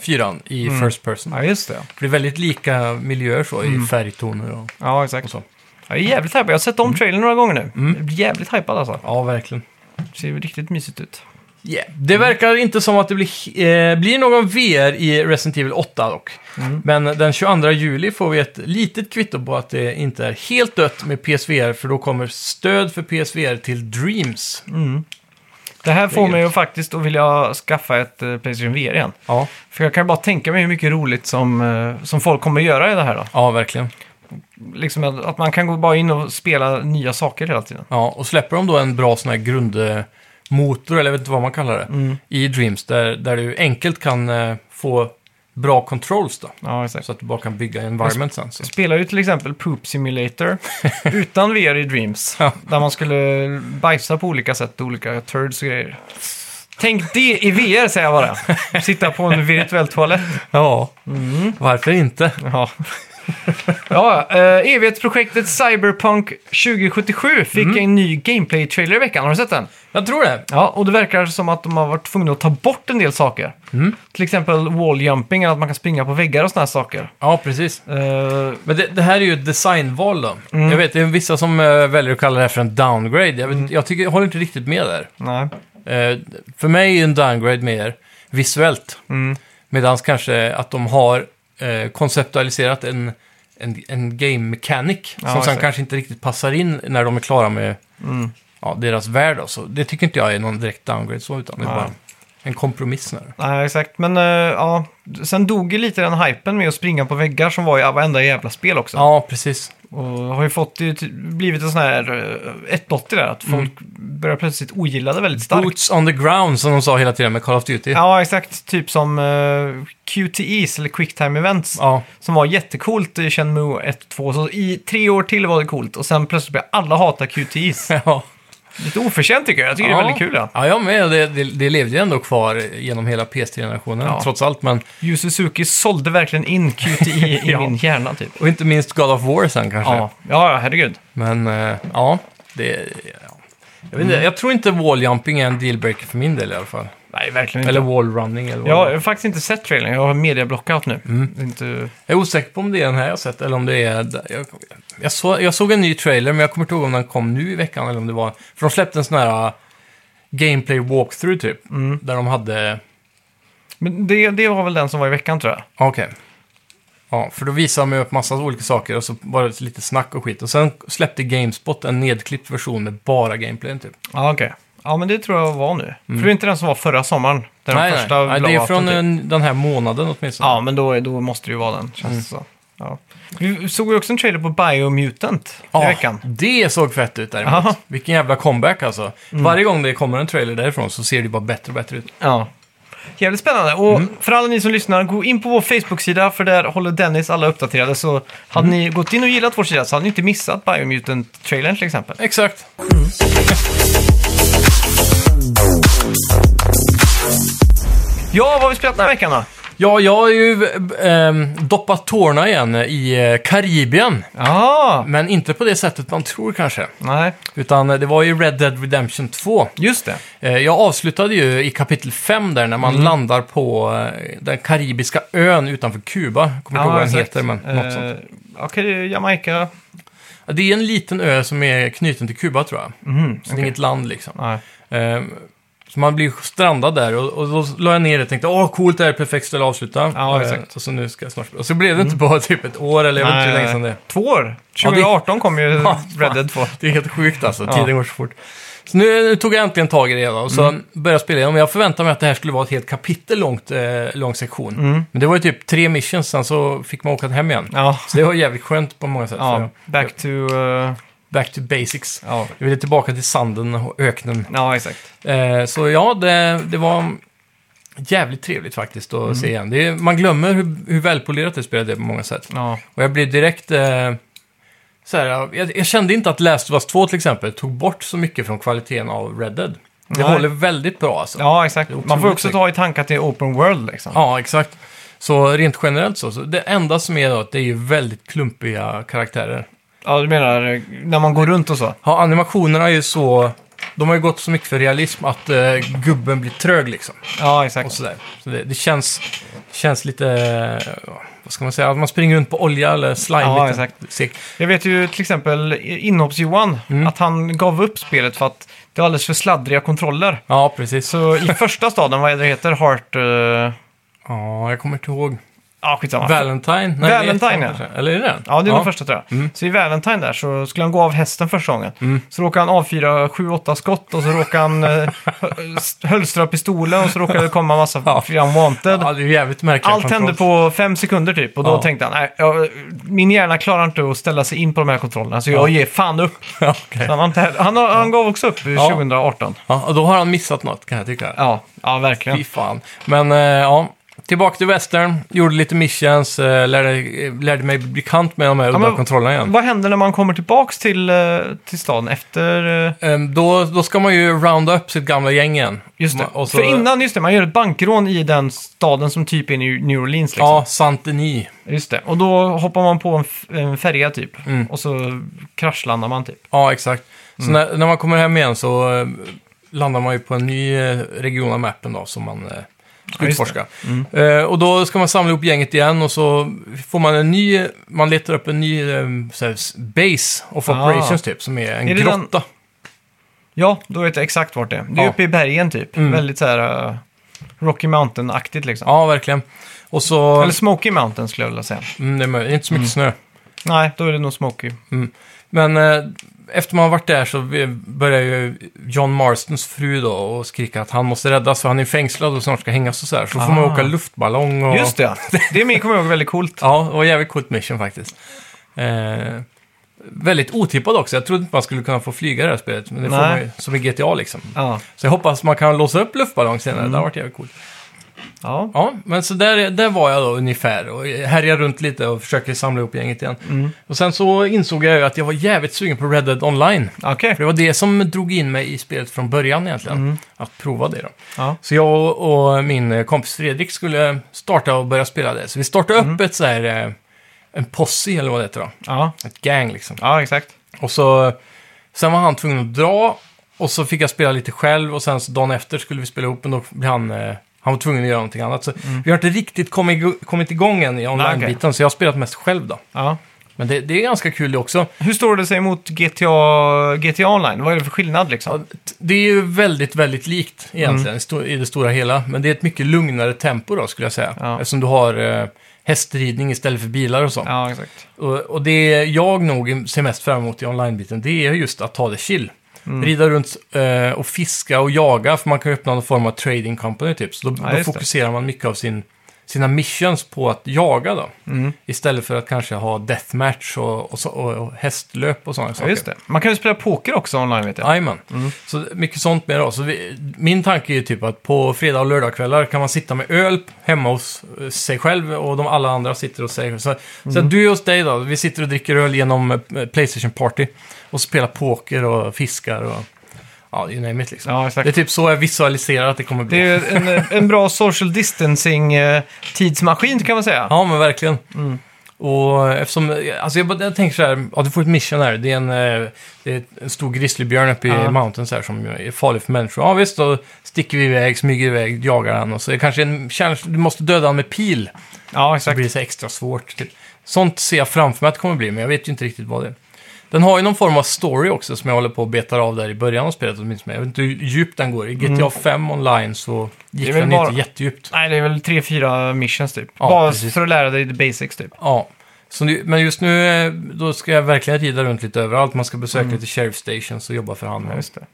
B: 4 i
A: Mm.
B: First Person.
A: ja, just det.
B: Det blir väldigt lika miljöer så
A: Mm.
B: i färgtoner och,
A: Ja, exakt.
B: och så. Mm.
A: Jag är jävligt hypad. Jag har sett om trailern några gånger nu. Jag blir jävligt hypad alltså.
B: Ja, verkligen.
A: Det ser ju riktigt mysigt ut.
B: Yeah. Det verkar inte som att det blir, eh, blir någon VR i Resident Evil 8 dock. Men den 22 juli får vi ett litet kvitto på att det inte är helt dött med PSVR, för då kommer stöd för PSVR till Dreams.
A: Det här får
B: Det är
A: mig
B: gött.
A: ju faktiskt att vilja skaffa ett eh, Playstation VR igen.
B: Ja,
A: För jag kan bara tänka mig hur mycket roligt som, eh, som folk kommer göra i det här då.
B: ja verkligen.
A: Liksom att, att man kan gå bara in och spela nya saker hela tiden.
B: Ja, och släpper de då en bra sån här grundmotor, eller jag vet inte vad man kallar det, i Dreams, där, där du enkelt kan eh, få bra controls då.
A: Ja, exakt.
B: Så att du bara kan bygga environment sen. Så.
A: Jag spelar ju till exempel Poop Simulator utan VR i Dreams.
B: Ja.
A: Där man skulle bajsa på olika sätt, olika turds och grejer. Tänk det i VR säger jag bara. Sitta på en virtuell toalett.
B: Ja, Mm. varför inte?
A: Ja. ja, eh, evighetsprojektet Cyberpunk 2077 fick en ny gameplay-trailer i veckan. Har du sett den?
B: Jag tror det.
A: Ja, och det verkar som att de har varit tvungna att ta bort en del saker.
B: Mm.
A: Till exempel walljumping, att man kan springa på väggar och sådana här saker.
B: Ja, precis.
A: Eh,
B: Men det, det här är ju ett designval då.
A: Mm.
B: Jag vet, det är vissa som eh, väljer att kalla det här för en downgrade. Jag, vet, jag, tycker, jag håller inte riktigt med där.
A: nej.
B: Eh, för mig är en downgrade mer visuellt.
A: Mm.
B: Medan kanske att de har eh, konceptualiserat en, en, en game mechanic
A: Ja,
B: som sen
A: exakt.
B: kanske inte riktigt passar in när de är klara med
A: Mm.
B: ja, deras värld. då. Så det tycker inte jag är någon direkt downgrade så, utan det är
A: Nej.
B: bara en kompromiss. snarare.
A: Nej, exakt. Men eh, ja, sen dog ju lite den hypen med att springa på väggar som var i varenda jävla spel också.
B: Ja, precis.
A: Och har ju fått, det har ju ty- blivit en sån här eh, ett dot i det här, att folk börjar plötsligt ogilla det väldigt starkt.
B: Boots on the ground, som de sa hela tiden med Call of Duty.
A: Ja, exakt. Typ som eh, QTEs eller Quick Time Events.
B: ja.
A: Som var jättecoolt i Shenmue 1 och 2. Så i tre år till var det coolt. Och sen plötsligt började alla hata QTEs.
B: ja.
A: Lite oförtjänt tycker jag. Jag tycker det är väldigt kul. Ja.
B: Ja, jag med. Det, det, det levde ju ändå kvar genom hela PS3-generationen,
A: Ja.
B: trots allt. Men,
A: Yu Suzuki sålde verkligen in QTE i
B: Ja.
A: min hjärna typ.
B: och inte minst God of War sen kanske.
A: Ja, ja, ja, herregud.
B: Men eh, ja, det... Ja. Jag, vet inte,
A: Mm.
B: jag tror inte walljumping är en dealbreaker för min del i alla fall.
A: Nej, verkligen
B: Eller
A: inte.
B: wallrunning eller vad
A: Jag
B: det
A: har
B: är.
A: faktiskt inte sett trailern. Jag har mediablockout nu. Inte...
B: Jag är osäker på om det är den här jag har sett eller om det är... Jag, jag, så, jag såg en ny trailer, men jag kommer inte ihåg om den kom nu i veckan eller om det var... För de släppte en sån här eh, gameplay walkthrough typ,
A: Mm.
B: där de hade...
A: Men det, det var väl den som var i veckan tror jag.
B: Okej. Ja, för då visade de ju upp massa olika saker och så var det lite snack och skit. Och sen släppte Gamespot en nedklippt version med bara gameplayen typ.
A: Ja, okej. Mm. Ja, men det tror jag var nu. För det är inte den som var förra sommaren. Den
B: nej,
A: första
B: nej. nej, det är
A: blowouten,
B: från
A: typ.
B: en, den här månaden åtminstone.
A: Ja, men då, då måste det ju vara den,
B: Mm.
A: känns det så. Ja. Vi såg ju också en trailer på Biomutant i veckan.
B: det såg fett ut däremot.
A: Aha.
B: Vilken jävla comeback alltså. Varje gång det kommer en trailer därifrån så ser det bara bättre och bättre ut.
A: Ja. Jävligt spännande. Och
B: Mm.
A: för alla ni som lyssnar, gå in på vår Facebook-sida för där håller Dennis alla uppdaterade. Så hade
B: Mm.
A: ni gått in och gillat vår sida så hade ni inte missat Biomutant-trailern till exempel.
B: Exakt.
A: Ja, vad har vi spelat den här veckan då?
B: Ja, jag har ju ehm, doppat tårna igen i eh, Karibien.
A: Ja,
B: Men inte på det sättet man tror kanske.
A: nej,
B: Utan eh, det var ju Red Dead Redemption 2.
A: just det.
B: Eh, Jag avslutade ju i kapitel 5 där när man
A: Mm.
B: landar på eh, den karibiska ön utanför Kuba. Kommer inte ihåg vad den
A: exakt.
B: heter, men något sånt.
A: Eh, Okej, det är Jamaica.
B: Ja, Det är en liten ö som är knuten till Kuba tror jag.
A: Mhm,
B: Så det är inget land liksom.
A: nej.
B: Eh, Så man blir strandad där och, och då la jag ner det och tänkte åh coolt det här är perfekt ställe att avsluta.
A: Ja,
B: Eh,
A: exakt. Mm.
B: Och så nu ska jag snart Och så blev det inte bara typ ett år eller jag vet inte hur länge sedan det är.
A: Två år?
B: Ja, det-
A: 2018 kom ju
B: Ja,
A: Red Dead 2.
B: Det är helt sjukt alltså,
A: Ja.
B: tiden går så fort. Så nu tog jag äntligen tag i det hela och så
A: Mm.
B: började jag spela igenom. Jag förväntade mig att det här skulle vara ett helt kapitel långt, eh, lång sektion.
A: Mm.
B: Men det var ju typ tre missions, sen så fick man åka hem igen.
A: Ja,
B: Så det var jävligt skönt på många sätt. Så
A: ja
B: jag-
A: back to... eh,
B: Back to basics.
A: ja.
B: Jag ville tillbaka till sanden och öknen.
A: ja, exakt.
B: Eh, så ja, det, det var jävligt trevligt faktiskt
A: Mm.
B: att se igen. Det är, man glömmer hur, hur välpolerat det spelet är på många sätt.
A: Ja.
B: Och jag blev direkt... Eh, så här, jag, jag kände inte att Last of Us 2 till exempel tog bort så mycket från kvaliteten av Red Dead. Det
A: Nej.
B: håller väldigt bra alltså.
A: Ja, exakt.
B: Det är otroligt
A: Man får också
B: snyggt.
A: ta i tanke att det är open world liksom.
B: Ja, exakt. Så rent generellt så, så. Det enda som är då att det är ju väldigt klumpiga karaktärer.
A: Ja, du menar eh, när man går runt och så?
B: Ja, animationerna är ju så... De har ju gått så mycket för realism att eh, gubben blir trög liksom.
A: Ja,
B: Och
A: exakt.
B: sådär. Så det, det känns, känns lite... eh, vad ska man säga, att man springer runt på olja eller slime.
A: Ja,
B: lite
A: exakt.
B: segt.
A: Jag vet ju till exempel inhopps-Johan, att han gav upp spelet för att det var alldeles för sladdriga kontroller.
B: Ja, precis.
A: Så i första staden, vad är det det heter? Heart... eh,
B: Ja, jag kommer inte ihåg.
A: Ja, skitsamma.
B: Valentine? Nej, det är
A: Valentine,
B: ettan kanske. Eller är det den?
A: Ja, Mm. det är den första tror jag. Så i Valentine där så skulle han gå av hästen första gången. Så råkade han avfyra 7-8 skott och så råkade han eh, hö- hölstra pistolen och så råkade det komma massa
B: Ja.
A: fria wanted.
B: Ja, det är ju jävligt märkligt.
A: Allt hände på fem sekunder typ och då
B: Ja.
A: tänkte han, nej, jag, min hjärna klarar inte att ställa sig in på de här kontrollerna så jag ger fan upp.
B: Ja, okej.
A: Så han, har inte heller, han, har, han gav också upp i
B: Ja.
A: 2018.
B: ja, och då har han missat något kan jag tycka.
A: Ja, ja
B: Fy
A: verkligen.
B: fan. Men eh, ja, tillbaka till western, gjorde lite missions, eh, lärde, eh, lärde mig bli bekant med de här udda
A: men-
B: kontrollerna igen.
A: Vad händer när man kommer tillbaks till, eh, till staden efter... eh,
B: Ehm, då, då ska man ju rounda upp sitt gamla gäng igen.
A: Just det.
B: Ma- Och så,
A: För innan, just det, man gör ett bankrån i den staden som typ är New New Orleans. Liksom.
B: Ja, Saint-Denis.
A: Just det. Och då hoppar man på en, f- en färja typ.
B: Mm.
A: Och så kraschlandar man typ.
B: Ja, exakt.
A: Mm.
B: Så när, när man kommer hem igen så eh, landar man ju på en ny eh, region av mappen då som man eh, ska
A: Ja, just Mm.
B: utforska. Eh, och då ska man samla ihop gänget igen och så får man en ny, man letar upp en ny eh, så här, s- base of
A: Ah.
B: operations typ, som är en
A: Är det den-
B: grotta.
A: Ja, då vet jag exakt vart det är. Det är
B: Ja. Mm.
A: uppe i bergen typ. Väldigt så här eh, Rocky Mountain-aktigt liksom.
B: Ja, verkligen. Och så,
A: Eller Smoky Mountain skulle jag vilja säga.
B: mm, det är möjligt, inte så mycket snö.
A: Nej, då är det nog Smoky.
B: Men eh, efter man har varit där så vi- börjar ju John Marstons fru då och skrika att han måste räddas för han är fängslad och snart ska hängas och så här. Så får man
A: Ah.
B: åka luftballong och...
A: Just det, ja. det min- kommer jag ihåg väldigt coolt.
B: Ja, det var jävligt coolt mission faktiskt. Eh, väldigt otippad också. Jag trodde inte man skulle kunna få flyga i det här spelet. Men det får
A: Nej.
B: man ju, som i GTA liksom.
A: Ja,
B: Så jag hoppas man kan låsa upp luftballong senare.
A: Mm.
B: Det har varit jävligt coolt.
A: ja.
B: Ja, men så där, där var jag då ungefär. Och härjade runt lite och försöker samla ihop gänget igen.
A: Mm.
B: Och sen så insåg jag ju att jag var jävligt sugen på Red Dead Online.
A: okej.
B: För det var det som drog in mig i spelet från början egentligen.
A: Mm.
B: Att prova det då.
A: Ja.
B: Så jag och min eh, kompis Fredrik skulle starta och börja spela det. Så vi startade upp ett så här, eh, en posse eller vad det heter då.
A: Ja.
B: Ett gang liksom.
A: ja, exakt.
B: Och så, sen var han tvungen att dra. Och så fick jag spela lite själv och sen så dagen efter skulle vi spela ihop men då blev han, eh, han var tvungen att göra någonting annat. Så vi har inte riktigt kommit, igå- kommit igång än i online-biten så jag har spelat mest själv då.
A: Ja.
B: Men det, det är ganska kul det också.
A: Hur står det sig mot GTA, GTA Online? Vad är det för skillnad liksom?
B: T- Det är ju väldigt, väldigt likt egentligen
A: Mm.
B: i sto- i det stora hela. Men det är ett mycket lugnare tempo då skulle jag säga.
A: Ja.
B: Eftersom du har eh, hästridning istället för bilar och så.
A: Ja, exakt.
B: Och, och det jag nog ser mest fram emot i online-biten, det är just att ta det chill.
A: Mm.
B: Rida runt eh, och fiska och jaga, för man kan ju öppna någon form av trading company typ. Så då,
A: Ja,
B: då
A: just det.
B: fokuserar man mycket av sin, sina missions på att jaga då.
A: Mm.
B: Istället för att kanske ha deathmatch och, och, så- och, och hästlöp och sådana
A: Ja,
B: saker.
A: just det. Man kan ju spela poker också online vet jag.
B: Jajamän.
A: Mm.
B: Så mycket sånt med då. Så vi, min tanke är ju typ att på fredag och lördagkvällar kan man sitta med öl hemma hos eh, sig själv och de alla andra sitter hos sig. Så, så
A: Mm.
B: att du är hos dig då. Vi sitter och dricker öl genom eh, Playstation Party och spelar poker och fiskar och ja, you name it liksom.
A: Ja, exakt.
B: Det är typ så jag visualiserar att det kommer
A: Det
B: bli.
A: är ju en, en bra social distancing-tidsmaskin kan man säga.
B: Ja, men verkligen.
A: Mm.
B: Och eftersom, alltså jag, bara- jag tänker så här, ja du får ett mission här, det är en, eh, det är en stor grizzlybjörn uppe i
A: Ja.
B: mountains här som är farlig för människor. Ja visst, då sticker vi iväg, smyger iväg, jagar han och så är det kanske en challenge, du måste döda han med pil.
A: Ja,
B: Så blir det så här extra svårt. Typ. Sånt ser jag framför mig att det kommer bli, men jag vet ju inte riktigt vad det är. Den har ju någon form av story också som jag håller på att betar av där i början av spelet åtminstone. Jag vet inte hur djupt den går. I GTA 5 online så
A: Mm. Det är
B: gick
A: väl
B: den
A: bara-
B: inte jättedjupt.
A: Nej, det är väl tre, fyra missions typ.
B: Ja,
A: Bara
B: precis.
A: för att lära dig the basics typ.
B: Ja, så nu, men just nu eh, då ska jag verkligen rida runt lite överallt. Man ska besöka lite sheriff stations och jobba för hand.
A: Mm. Ja, just det. Mm.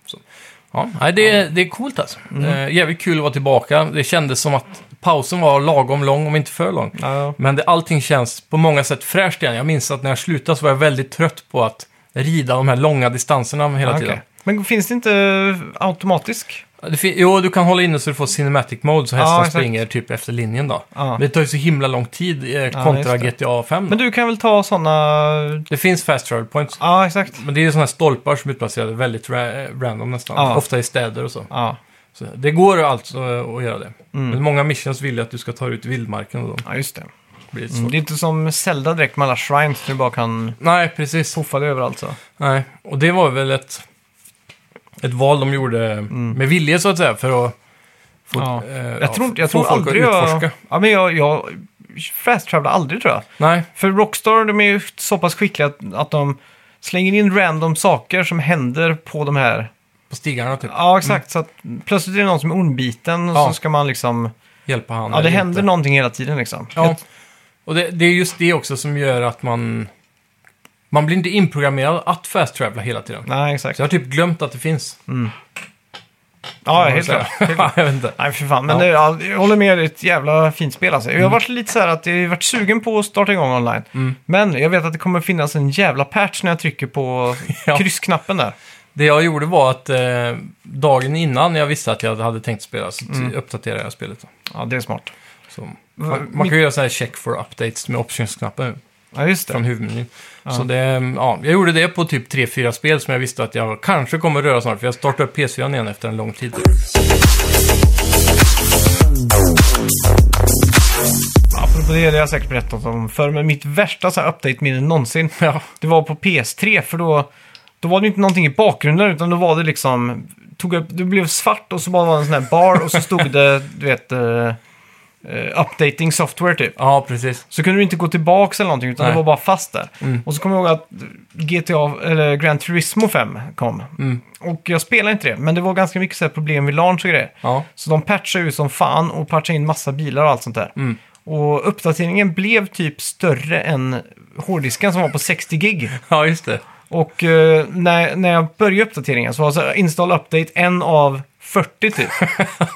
B: Ja, nej, det, är- det är coolt alltså. Eh, jävligt kul att vara tillbaka. Det kändes som att pausen var lagom lång, om inte för lång.
A: Ja,
B: Men det, allting känns på många sätt fräscht igen. Jag minns att när jag slutade så var jag väldigt trött på att rida de här långa distanserna hela
A: okej.
B: tiden.
A: Men finns det inte automatisk?
B: Det fin- jo, du kan hålla inne så du får cinematic mode så hästen
A: Ja, exakt.
B: springer typ efter linjen då.
A: Ja.
B: Men det tar ju så himla lång tid eh, kontra
A: just det.
B: GTA 5.
A: Men du kan väl ta sådana...
B: Det finns fast travel points.
A: Ja, exakt.
B: Men det är ju sådana här stolpar som är utplacerade väldigt ra- random nästan.
A: Ja.
B: Ofta i städer och så.
A: Ja,
B: så. Det går alltså eh, att göra det.
A: Mm.
B: Men många missions vill ju att du ska ta dig ut i vildmarken och då
A: ja just det.
B: blir det svårt.
A: Mm. Det är inte som Zelda direkt med alla shrines, du bara kan
B: Nej, precis.
A: poffa dig överallt så.
B: Nej. Och det var väl ett, ett val de gjorde med vilje så att säga för att få,
A: Mm. Ja.
B: eh, ja,
A: Jag tror, inte- jag
B: få
A: tror
B: folk
A: aldrig
B: att utforska.
A: jag... Ja, men jag, jag... fast travela aldrig tror jag.
B: Nej.
A: För Rockstar, de är ju så pass skickliga att, att de slänger in random saker som händer på de här.
B: På stigarna typ.
A: Ja, exakt. Så att plötsligt är det någon som är ormbiten och
B: Ja.
A: så ska man liksom...
B: Hjälpa
A: Ja,
B: han.
A: det
B: eller
A: händer
B: inte.
A: någonting hela tiden liksom.
B: Ja. Och det, det är just det också som gör att man... Man blir inte inprogrammerad att fast travela hela tiden.
A: Nej, exakt.
B: Så jag har typ glömt att det finns.
A: Ja,
B: kan
A: helt
B: man
A: klart.
B: säga. jag vet inte.
A: Nej, för fan. Men
B: Ja. Mm.
A: det, ja, jag håller med, det är ett jävla fint spel alltså. Jag har varit lite så här att jag har varit sugen på att starta igång online. Men jag vet att det kommer finnas en jävla patch när jag trycker på
B: Ja.
A: kryssknappen där.
B: Det jag gjorde var att eh, dagen innan jag visste att jag hade tänkt spela så uppdaterade jag spelet.
A: Ja, det är smart.
B: Så, man, man kan ju göra sådana här check for updates med optionsknappen nu,
A: Ja, just det.
B: från huvudmenyn. Så det, ja, jag gjorde det på typ 3-4 spel som jag visste att jag kanske kommer röra snart. För jag startade upp PS4 igen efter en lång tid.
A: Apropå det, det har jag säkert berättat om förr, men mitt värsta så här update-minne någonsin,
B: Ja.
A: det var på PS3, för då, då var det inte någonting i bakgrunden, utan då var det liksom, tog upp, det blev svart och så bara var det en sån här bar och så stod det, du vet, eh, eh, updating software typ.
B: ja, precis.
A: Så kunde du inte gå tillbaka eller någonting, utan
B: Nej.
A: det var bara fast där. Och så kommer jag ihåg att GTA, eller Gran Turismo 5 kom. Och jag spelade inte det, men det var ganska mycket så här problem vid launch och grejer.
B: Ja.
A: Så de patchade ju som fan och patchade in massa bilar och allt sånt där. Och uppdateringen blev typ större än hårddisken som var på 60 gig.
B: ja, just det.
A: Och eh, när, när jag började uppdateringen så var så här, install update en av 40 typ.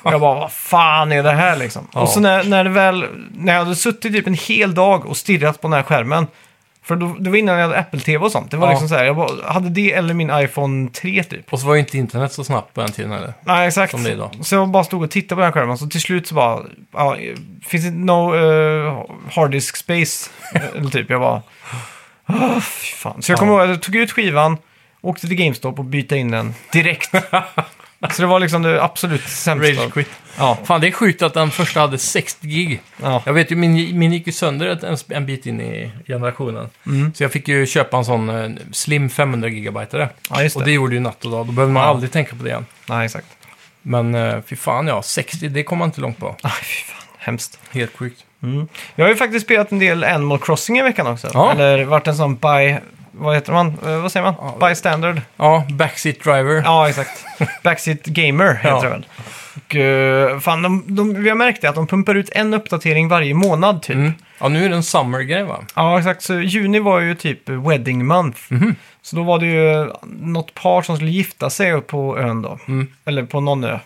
A: Och jag bara, vad fan är det här liksom?
B: Ja.
A: Och så när, när det väl, när jag hade suttit typ en hel dag och stirrat på den här skärmen. För då, det var innan jag hade Apple TV och sånt. Det var
B: Ja.
A: liksom så här, jag bara, hade det eller min iPhone 3 typ.
B: Och så var ju inte internet så snabbt på den tiden heller.
A: Nej, exakt.
B: Som det är idag.
A: Så jag bara stod och tittade på den här skärmen, så till slut så bara... Ja, finns det no eh, harddisk space? Eller typ, jag bara... Oh, fy fan. Så jag kommer
B: Ja.
A: ihåg att jag tog ut skivan, åkte till GameStop och bytte in den direkt. så det var liksom det absolut sämsta.
B: Rage quit.
A: Ja,
B: Fan, det är sjukt att den första hade 60 gig.
A: ja.
B: Jag vet ju, min, min gick ju sönder ett, en, en bit in i generationen.
A: Mm.
B: Så jag fick ju köpa en sån eh, slim 500 gigabyte
A: ja just det.
B: Och det gjorde ju natt och dag. Då behöver man
A: Ja.
B: aldrig tänka på det igen.
A: Nej, exakt.
B: Men eh, fy fan ja, 60 det kom man inte långt på.
A: Aj, fy fan. Hemskt.
B: Helt sjukt.
A: Jag har ju faktiskt spelat en del Animal Crossing i veckan också.
B: Ja.
A: Eller varit en sån by... Vad heter man? Eh, vad säger man? Bystander.
B: Ja, backseat driver.
A: Ja, exakt. Backseat Gamer heter
B: Ja.
A: det väl. Och, eh, fan, de, de, vi har märkt det att de pumpar ut en uppdatering varje månad typ.
B: Mm. ja, nu är det en summer-grej va?
A: Ja, exakt. Så juni var ju typ wedding month.
B: Mhm.
A: Så då var det ju något par som skulle gifta sig på ön då.
B: Mm.
A: Eller på någon ö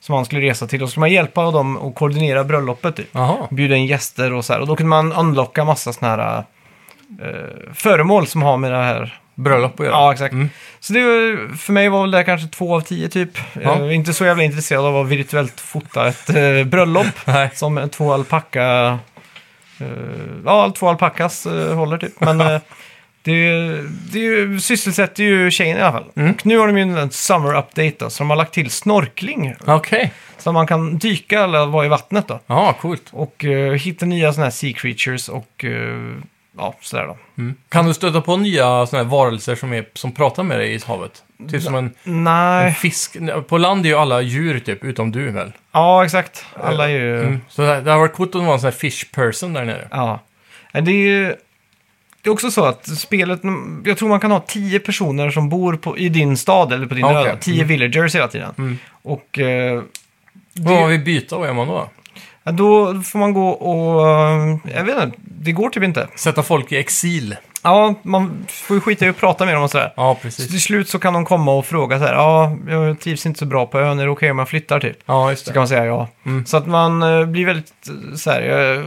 A: som man skulle resa till. Och så skulle man hjälpa dem att koordinera bröllopet typ.
B: Jaha.
A: Bjuda in gäster och så här. Och då kunde man unlocka massa sådana här eh, föremål som har med det här
B: Bröllop att göra.
A: Ja, exakt. Så det, var- för mig var väl det kanske två av tio typ.
B: Ja.
A: Eh, inte så jävla intresserad av att virtuellt fota ett eh, bröllop
B: Nej.
A: som två alpacka... Eh, ja, två alpackas eh, håller typ. Men eh, det, det är ju- sysselsätter ju tjejen i alla fall.
B: Mm.
A: Och nu har de ju en summer update då, så de har lagt till snorkling.
B: Okej.
A: Så man kan dyka eller vara i vattnet då.
B: Ja, coolt.
A: Och eh, hitta nya sådana här sea creatures och eh, ja, sådär då.
B: Mm. Kan du stöta på nya såna här varelser som, är, som pratar med dig i havet? Typ som en, en
A: Nej,
B: fisk. På land är ju alla djur typ, utom du väl?
A: ja exakt. Alla är ju...
B: Mm. Så det det hade varit coolt om det var en sån här fish person där nere.
A: Ja. Men Det är ju... Det är också så att spelet, jag tror man kan ha tio personer som bor på, i din stad eller på din
B: Okej. Mm.
A: ö. Tio villagers hela tiden. Och eh,
B: Vad har vi byta? Vad gör man då?
A: ja, då får man gå och... eh, Jag vet inte, det går typ inte.
B: Sätta folk i exil.
A: Ja, man får ju skita i att prata med dem och sådär.
B: Ja,
A: Så
B: precis.
A: till slut så kan de komma och fråga så här, ja, jag trivs inte så bra på ön, är det okej om jag flyttar typ?
B: Ja, just
A: Så
B: det. Mm.
A: kan man säga ja. Så att man eh, blir väldigt eh, så här... eh,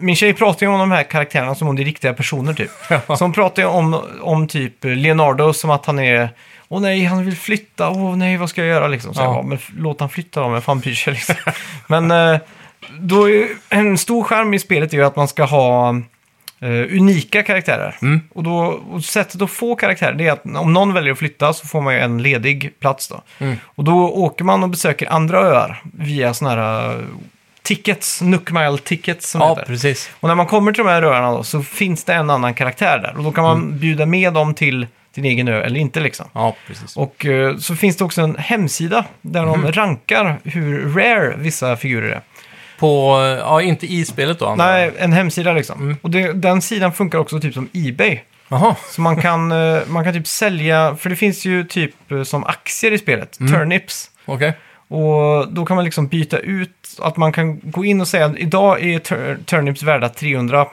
A: min tjej pratar ju om de här karaktärerna som om det är riktiga personer typ. Så hon pratar ju om, om typ Leonardo som att han är... Åh nej, han vill flytta. Åh nej, vad ska jag göra liksom? Så
B: Ja.
A: jag bara, men f- låt han flytta då, men fan bryr sig liksom. men eh, då är ju, en stor skärm i spelet är ju att man ska ha eh, unika karaktärer.
B: Mm.
A: Och, då, och sättet att få karaktärer det är att om någon väljer att flytta så får man ju en ledig plats då.
B: Mm.
A: Och då åker man och besöker andra öar via sådana här eh, tickets, Nook Mile tickets som
B: Ja,
A: heter.
B: precis.
A: Och när man kommer till de här öarna då, så finns det en annan karaktär där. Och då kan man
B: Mm.
A: bjuda med dem till din egen ö eller inte liksom.
B: Ja, precis.
A: Och eh,
B: Mm.
A: så finns det också en hemsida där de rankar hur rare vissa figurer är.
B: På, eh, ja Mm. inte i spelet då? antar jag.
A: Nej, en hemsida liksom. Och det, den sidan funkar också typ som Ebay.
B: Jaha.
A: Så man kan, eh, man kan typ sälja, för det finns ju typ eh, som aktier i spelet,
B: Mm.
A: turnips.
B: Okej.
A: Och då kan man liksom byta ut, att man kan gå in och säga idag är tur- turnips värda 300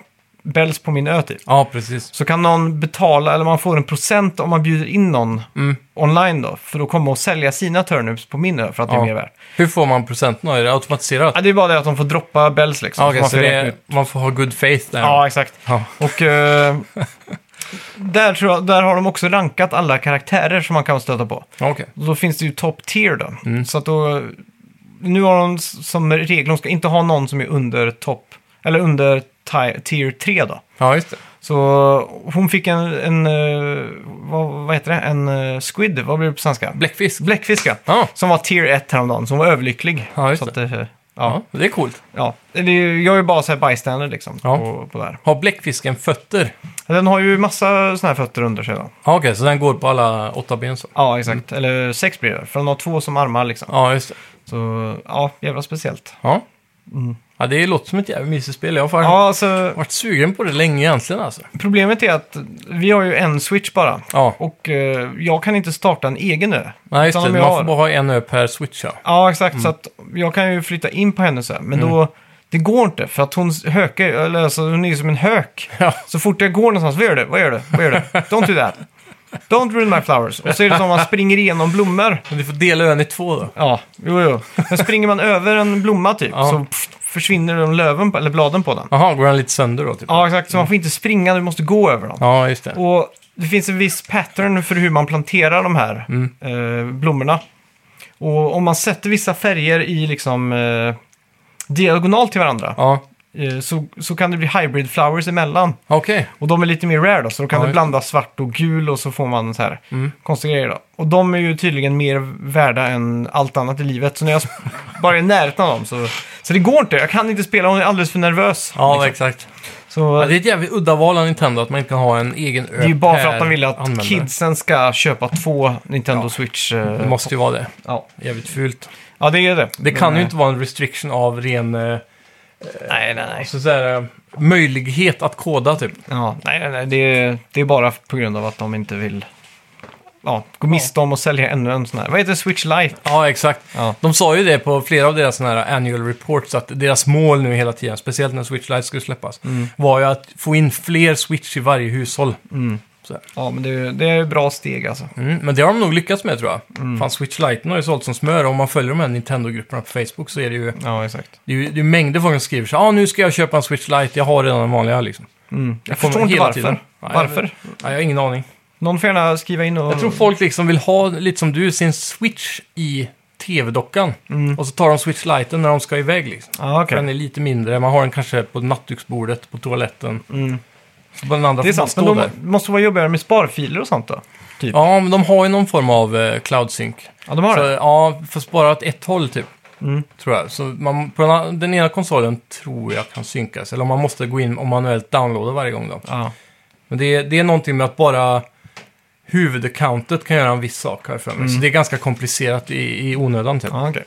A: bells på min ö typ.
B: Ja, precis.
A: Så kan någon betala, eller man får en procent om man bjuder in någon
B: Mm.
A: online då, för att komma och sälja sina turnips på min ö för att det
B: Ja.
A: är mer värt.
B: Hur får man procenten då? Är det automatiserat?
A: Ja, det är bara det att de får droppa bells liksom.
B: Ja,
A: så
B: okej,
A: man
B: så
A: får
B: det
A: räkna
B: är,
A: ut.
B: man får ha good faith där.
A: ja exakt.
B: Ja.
A: Och eh, där, tror jag, där har de också rankat alla karaktärer som man kan stöta på.
B: Okej.
A: Och då finns det ju top tier då.
B: Mm.
A: Så att då, nu har de s- som regel, de ska inte ha någon som är under topp, eller under ti- tier 3 då.
B: Ja, just det.
A: Så hon fick en, en eh, vad, vad heter det, en eh, squid, vad blir det på svenska?
B: Bläckfisk.
A: Bläckfiska.
B: Ja.
A: Som var tier 1 häromdagen, som var överlycklig.
B: Ja, just
A: så att, eh, ja,
B: Ja, det är coolt.
A: ja. Det är ju- Jag är ju bara så här bystander liksom.
B: Ja.
A: På, på det här.
B: Har bläckfisken fötter?
A: Den har ju massa sådana här fötter under sig då.
B: Ja, okej, så den går på alla åtta ben så?
A: Ja, exakt.
B: Mm.
A: Eller sex blir det, för de har två som armar liksom.
B: Ja, just det.
A: Så ja, jävla speciellt.
B: Ja. ja, det låter som ett jävla mysigt spel. Jag har fan
A: Ja, alltså,
B: varit sugen på det länge egentligen alltså.
A: problemet är att vi har ju en switch bara.
B: Ja,
A: Och eh, jag kan inte starta en egen nu.
B: Nej, just
A: Utan
B: det.
A: om
B: Man
A: jag har-
B: får bara ha en ö per switch ja.
A: Ja, exakt.
B: Mm.
A: Så att jag kan ju flytta in på henne så här. Men då, det går inte. För att hon hökar, eller alltså hon är ju som en hök.
B: Ja.
A: Så fort jag går någonstans, vad gör du? Vad gör du? Vad gör du? Don't do that. Don't ruin my flowers. Och så är det som att man springer igenom blommor.
B: Men du får dela ön i två då.
A: Ja, jo, jo. Men springer man över en blomma typ,
B: Ja.
A: så pff, försvinner de löven, på, eller bladen på den.
B: Jaha, går den lite sönder då? Typ.
A: Ja, exakt. Så man får inte springa, du måste gå över dem.
B: Ja, just det.
A: Och det finns en viss pattern för hur man planterar de här
B: Mm.
A: eh, blommorna. Och om man sätter vissa färger i liksom eh, diagonal till varandra
B: Ja,
A: eh, så, så kan det bli hybrid flowers emellan.
B: okej.
A: Och de är lite mer rare då, så då kan
B: Ja,
A: du
B: just Mm.
A: blanda svart och gul och så får man så här konstiga grejer då. Och de är ju tydligen mer värda än allt annat i livet, så när jag sp- bara är i närheten av dem så... Så det går inte, jag kan inte spela, hon är alldeles för nervös.
B: Ja, exakt.
A: Så,
B: Liksom. Ja, det är ett jävligt udda val av Nintendo att man inte kan ha en egen ö
A: Det är ju bara för
B: per
A: att de vill att
B: användare.
A: kidsen ska köpa två Nintendo Switch. eh,
B: Det måste ju vara det.
A: ja.
B: Jävligt fult.
A: ja, det är det.
B: Mm. Det kan
A: Men,
B: ju inte vara en restriction av ren eh,
A: eh, Nej, nej, nej.
B: så att säga, eh, möjlighet att koda typ.
A: Ja, nej, nej, nej. Det, är, det är bara på grund av att de inte vill ja, gå miste om och sälja ännu en sån här. Vad heter det? Switch Lite?
B: Ja, exakt.
A: Ja.
B: De sa ju det på flera av deras såna här annual reports, att deras mål nu hela tiden, speciellt när Switch Lite skulle släppas,
A: Mm.
B: var ju att få in fler Switch i varje hushåll. Så här.
A: Mm. Ja, men det är, det är bra steg alltså.
B: Mm, men det har de nog lyckats med tror jag.
A: Mm.
B: Fan, Switch Lite har ju sålt som smör och om man följer de här Nintendo-grupperna på Facebook så är det ju,
A: Ja, exakt.
B: det är ju det är mängder folk som skriver så ah, nu ska jag köpa en Switch Lite, jag har redan den vanliga liksom.
A: Mm. Jag
B: Kommer
A: förstår inte
B: hela
A: varför.
B: tiden. Nej,
A: Varför? Mm.
B: Nej, jag har ingen aning.
A: Någon får gärna skriva in och...
B: Jag tror folk liksom vill ha, lite som du, sin Switch i TV-dockan.
A: Mm.
B: Och så tar de Switch Lite när de ska iväg liksom.
A: Ja, okej.
B: Den är lite mindre, man har den kanske på nattduksbordet, på toaletten.
A: Mm.
B: Så den andra
A: Det är
B: får bara
A: sant, men
B: stå
A: de
B: där.
A: måste vara jobbigare med sparfiler och sånt då? Typ. Ja,
B: Ja, men de har ju någon form av eh, cloud sync.
A: de har
B: Så,
A: det.
B: ja, fast bara åt ett håll typ.
A: Mm.
B: Tror jag. Så man, på den, a- den ena konsolen tror jag kan synkas. Eller om man måste gå in och manuellt downloada varje gång då.
A: Ja.
B: Men det, är- det är någonting med att bara huvudaccountet kan göra en viss sak här för mig. Så det är ganska komplicerat i, i onödan typ.
A: Mm. Ja, okej.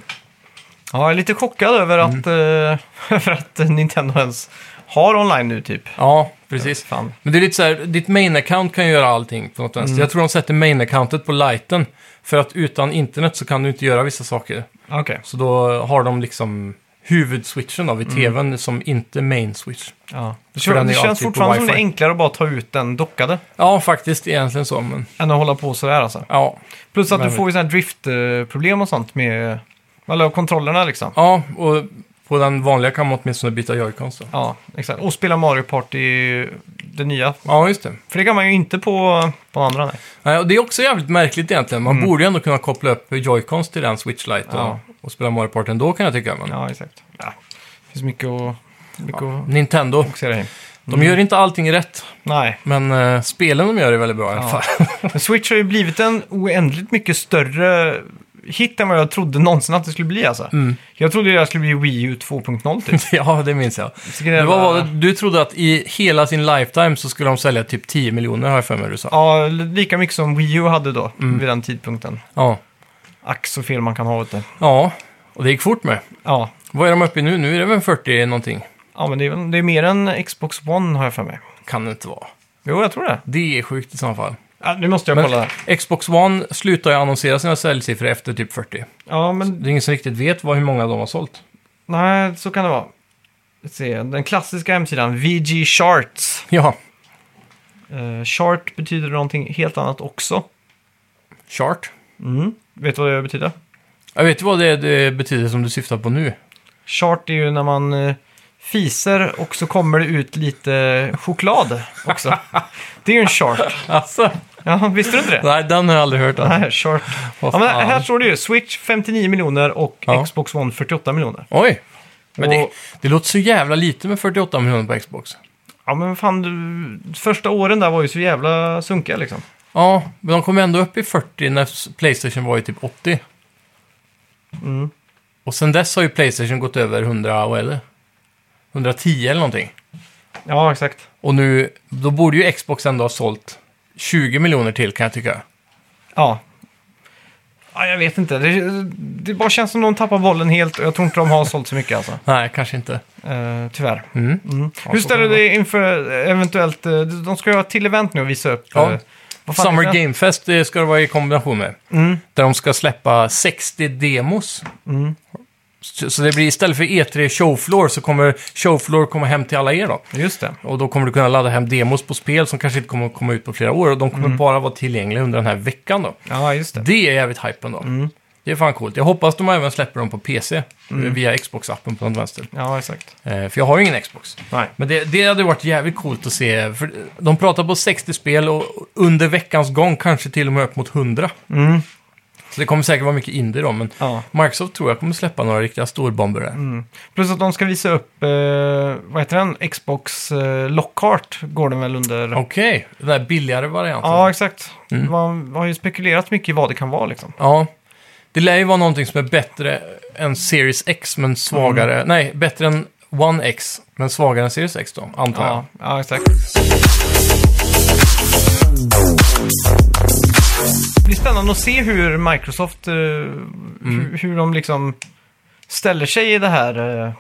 A: Ja, jag är lite chockad över
B: Mm.
A: att, eh, över att Nintendo ens har online nu typ.
B: Ja, precis.
A: Fan.
B: Men det är lite så här, ditt main-account kan ju göra allting på något vänster.
A: Mm.
B: Jag tror de sätter main-accountet på lighten. För att utan internet så kan du inte göra vissa saker.
A: Okej.
B: Så då har de liksom huvudswitchen då
A: Mm.
B: vid tvn som inte main-switch.
A: Ja. Det,
B: den är
A: det
B: ju
A: känns
B: alltid på
A: fortfarande som det är
B: typ wifi.
A: enklare att bara ta ut den dockade
B: Ja, faktiskt egentligen så, men
A: än att hålla på sådär alltså.
B: ja.
A: Plus att
B: Men-
A: du får ju sådana här driftproblem och sånt med alla kontrollerna liksom.
B: Ja, och på den vanliga kan man åtminstone byta joycons då.
A: Ja, exakt. Och spela Mario Party, det nya.
B: Ja, just det.
A: För det kan man ju inte på, på andra, nej.
B: Nej, och det är också jävligt märkligt egentligen. Man borde ju ändå kunna koppla upp joycons till den Switch Lite
A: Mm. Ja.
B: och, och spela Mario Party ändå kan jag tycka. Men...
A: Ja, exakt. Ja. Det finns mycket att, mycket att
B: Nintendo,
A: fokusera i. Mm.
B: de gör inte allting rätt,
A: Nej.
B: men eh, spelen de gör är väldigt bra i alla
A: Ja.
B: fall.
A: Men Switch har ju blivit en oändligt mycket större hit än vad jag trodde någonsin att det skulle bli alltså.
B: Mm.
A: Jag trodde det här skulle bli Wii U 2.0 typ.
B: ja, det minns jag. Det var, vad det- du trodde att i hela sin lifetime så skulle de sälja typ 10 miljoner, har jag för mig du sa.
A: Ja, lika mycket som Wii U hade då,
B: Mm.
A: vid den tidpunkten.
B: Ja.
A: Ack så fel man kan ha åt det.
B: ja, och det gick fort med.
A: Ja,
B: Vad är de uppe i nu? Nu är det väl 40 någonting?
A: Ja, men det är, väl- det är mer än Xbox One har jag för mig.
B: Kan det inte vara.
A: Jo, jag tror det.
B: Det är sjukt i så fall.
A: Ja, nu måste jag kolla.
B: Men
A: här.
B: Xbox One slutar ju annonsera sina säljsiffror efter typ 40.
A: Ja, men
B: Det är ingen som riktigt vet vad, hur många de har sålt.
A: nej, så kan det vara. Vi ska Se, den klassiska hemsidan, VG Charts.
B: Ja,
A: Eh, chart betyder någonting helt annat också.
B: chart.
A: Mm. Vet du vad det betyder?
B: Jag vet ju vad det, det betyder som du syftar på nu.
A: Chart är ju när man eh, fiser och så kommer det ut lite choklad också. det är ju en chart.
B: Alltså,
A: Ja, visste du inte det?
B: nej, den har jag aldrig hört. Alltså.
A: Nej, chart.
B: Vad
A: Ja, men
B: fan.
A: här står det ju Switch 59 miljoner och
B: Ja.
A: Xbox One 48 miljoner.
B: Oj! Men det,
A: Och-
B: det låter så jävla lite med 48 miljoner på Xbox.
A: Ja men fan, du, första åren där var ju så jävla sunkiga liksom.
B: Ja, men de kom ändå upp i 40 när s- Playstation var ju typ 80.
A: Mm.
B: Och sen dess har ju Playstation gått över 100, vad är det? 110 eller någonting.
A: Ja, exakt.
B: Och nu, då borde ju Xbox ändå ha sålt 20 miljoner till kan jag tycka.
A: Ja. ja jag vet inte. Det, det bara känns som de tappar bollen helt och jag tror inte de har sålt så mycket alltså.
B: Nej, kanske inte.
A: Eh, tyvärr.
B: Mm.
A: Hur ställer du dig inför eh, eventuellt... eh, De ska ju ha ett till event nu och visa upp...
B: Ja.
A: eh, vad fan
B: Summer
A: är det? Mm.
B: Game Fest eh, ska det vara i kombination med. Där de ska släppa 60 demos. Så så det blir istället för E3 Showfloor så kommer Showfloor komma hem till alla er då.
A: Just det.
B: Och då kommer du kunna ladda hem demos på spel som kanske inte kommer att komma ut på flera år. Och de kommer bara vara tillgängliga under den här veckan då.
A: Ja, just det.
B: Det är jävligt hypen då. Det är fan coolt. Jag hoppas de även släpper dem på PC. Via Xbox-appen på något vänster.
A: Ja, exakt.
B: Eh, för jag har ju ingen Xbox.
A: Nej.
B: Men det, det hade varit jävligt coolt att se. För de pratar på 60 spel och under veckans gång kanske till och med upp mot 100.
A: Mm.
B: Så det kommer säkert vara mycket indie då, men
A: Ja.
B: Microsoft tror jag kommer släppa några riktiga storbomber där.
A: Plus att de ska visa upp, eh, vad heter den, Xbox eh, Lockhart går den väl under.
B: Okej, den där billigare varianten.
A: Ja, exakt.
B: Mm.
A: Man har ju spekulerat mycket i vad det kan vara liksom.
B: Ja. Det lär ju vara någonting som är bättre än Series X men svagare.
A: Mm.
B: Nej, bättre än One X men svagare än Series X då, antar jag.
A: Ja, ja exakt. Det blir spännande att se hur Microsoft, eh, hur, hur de liksom ställer sig i det här. Eh.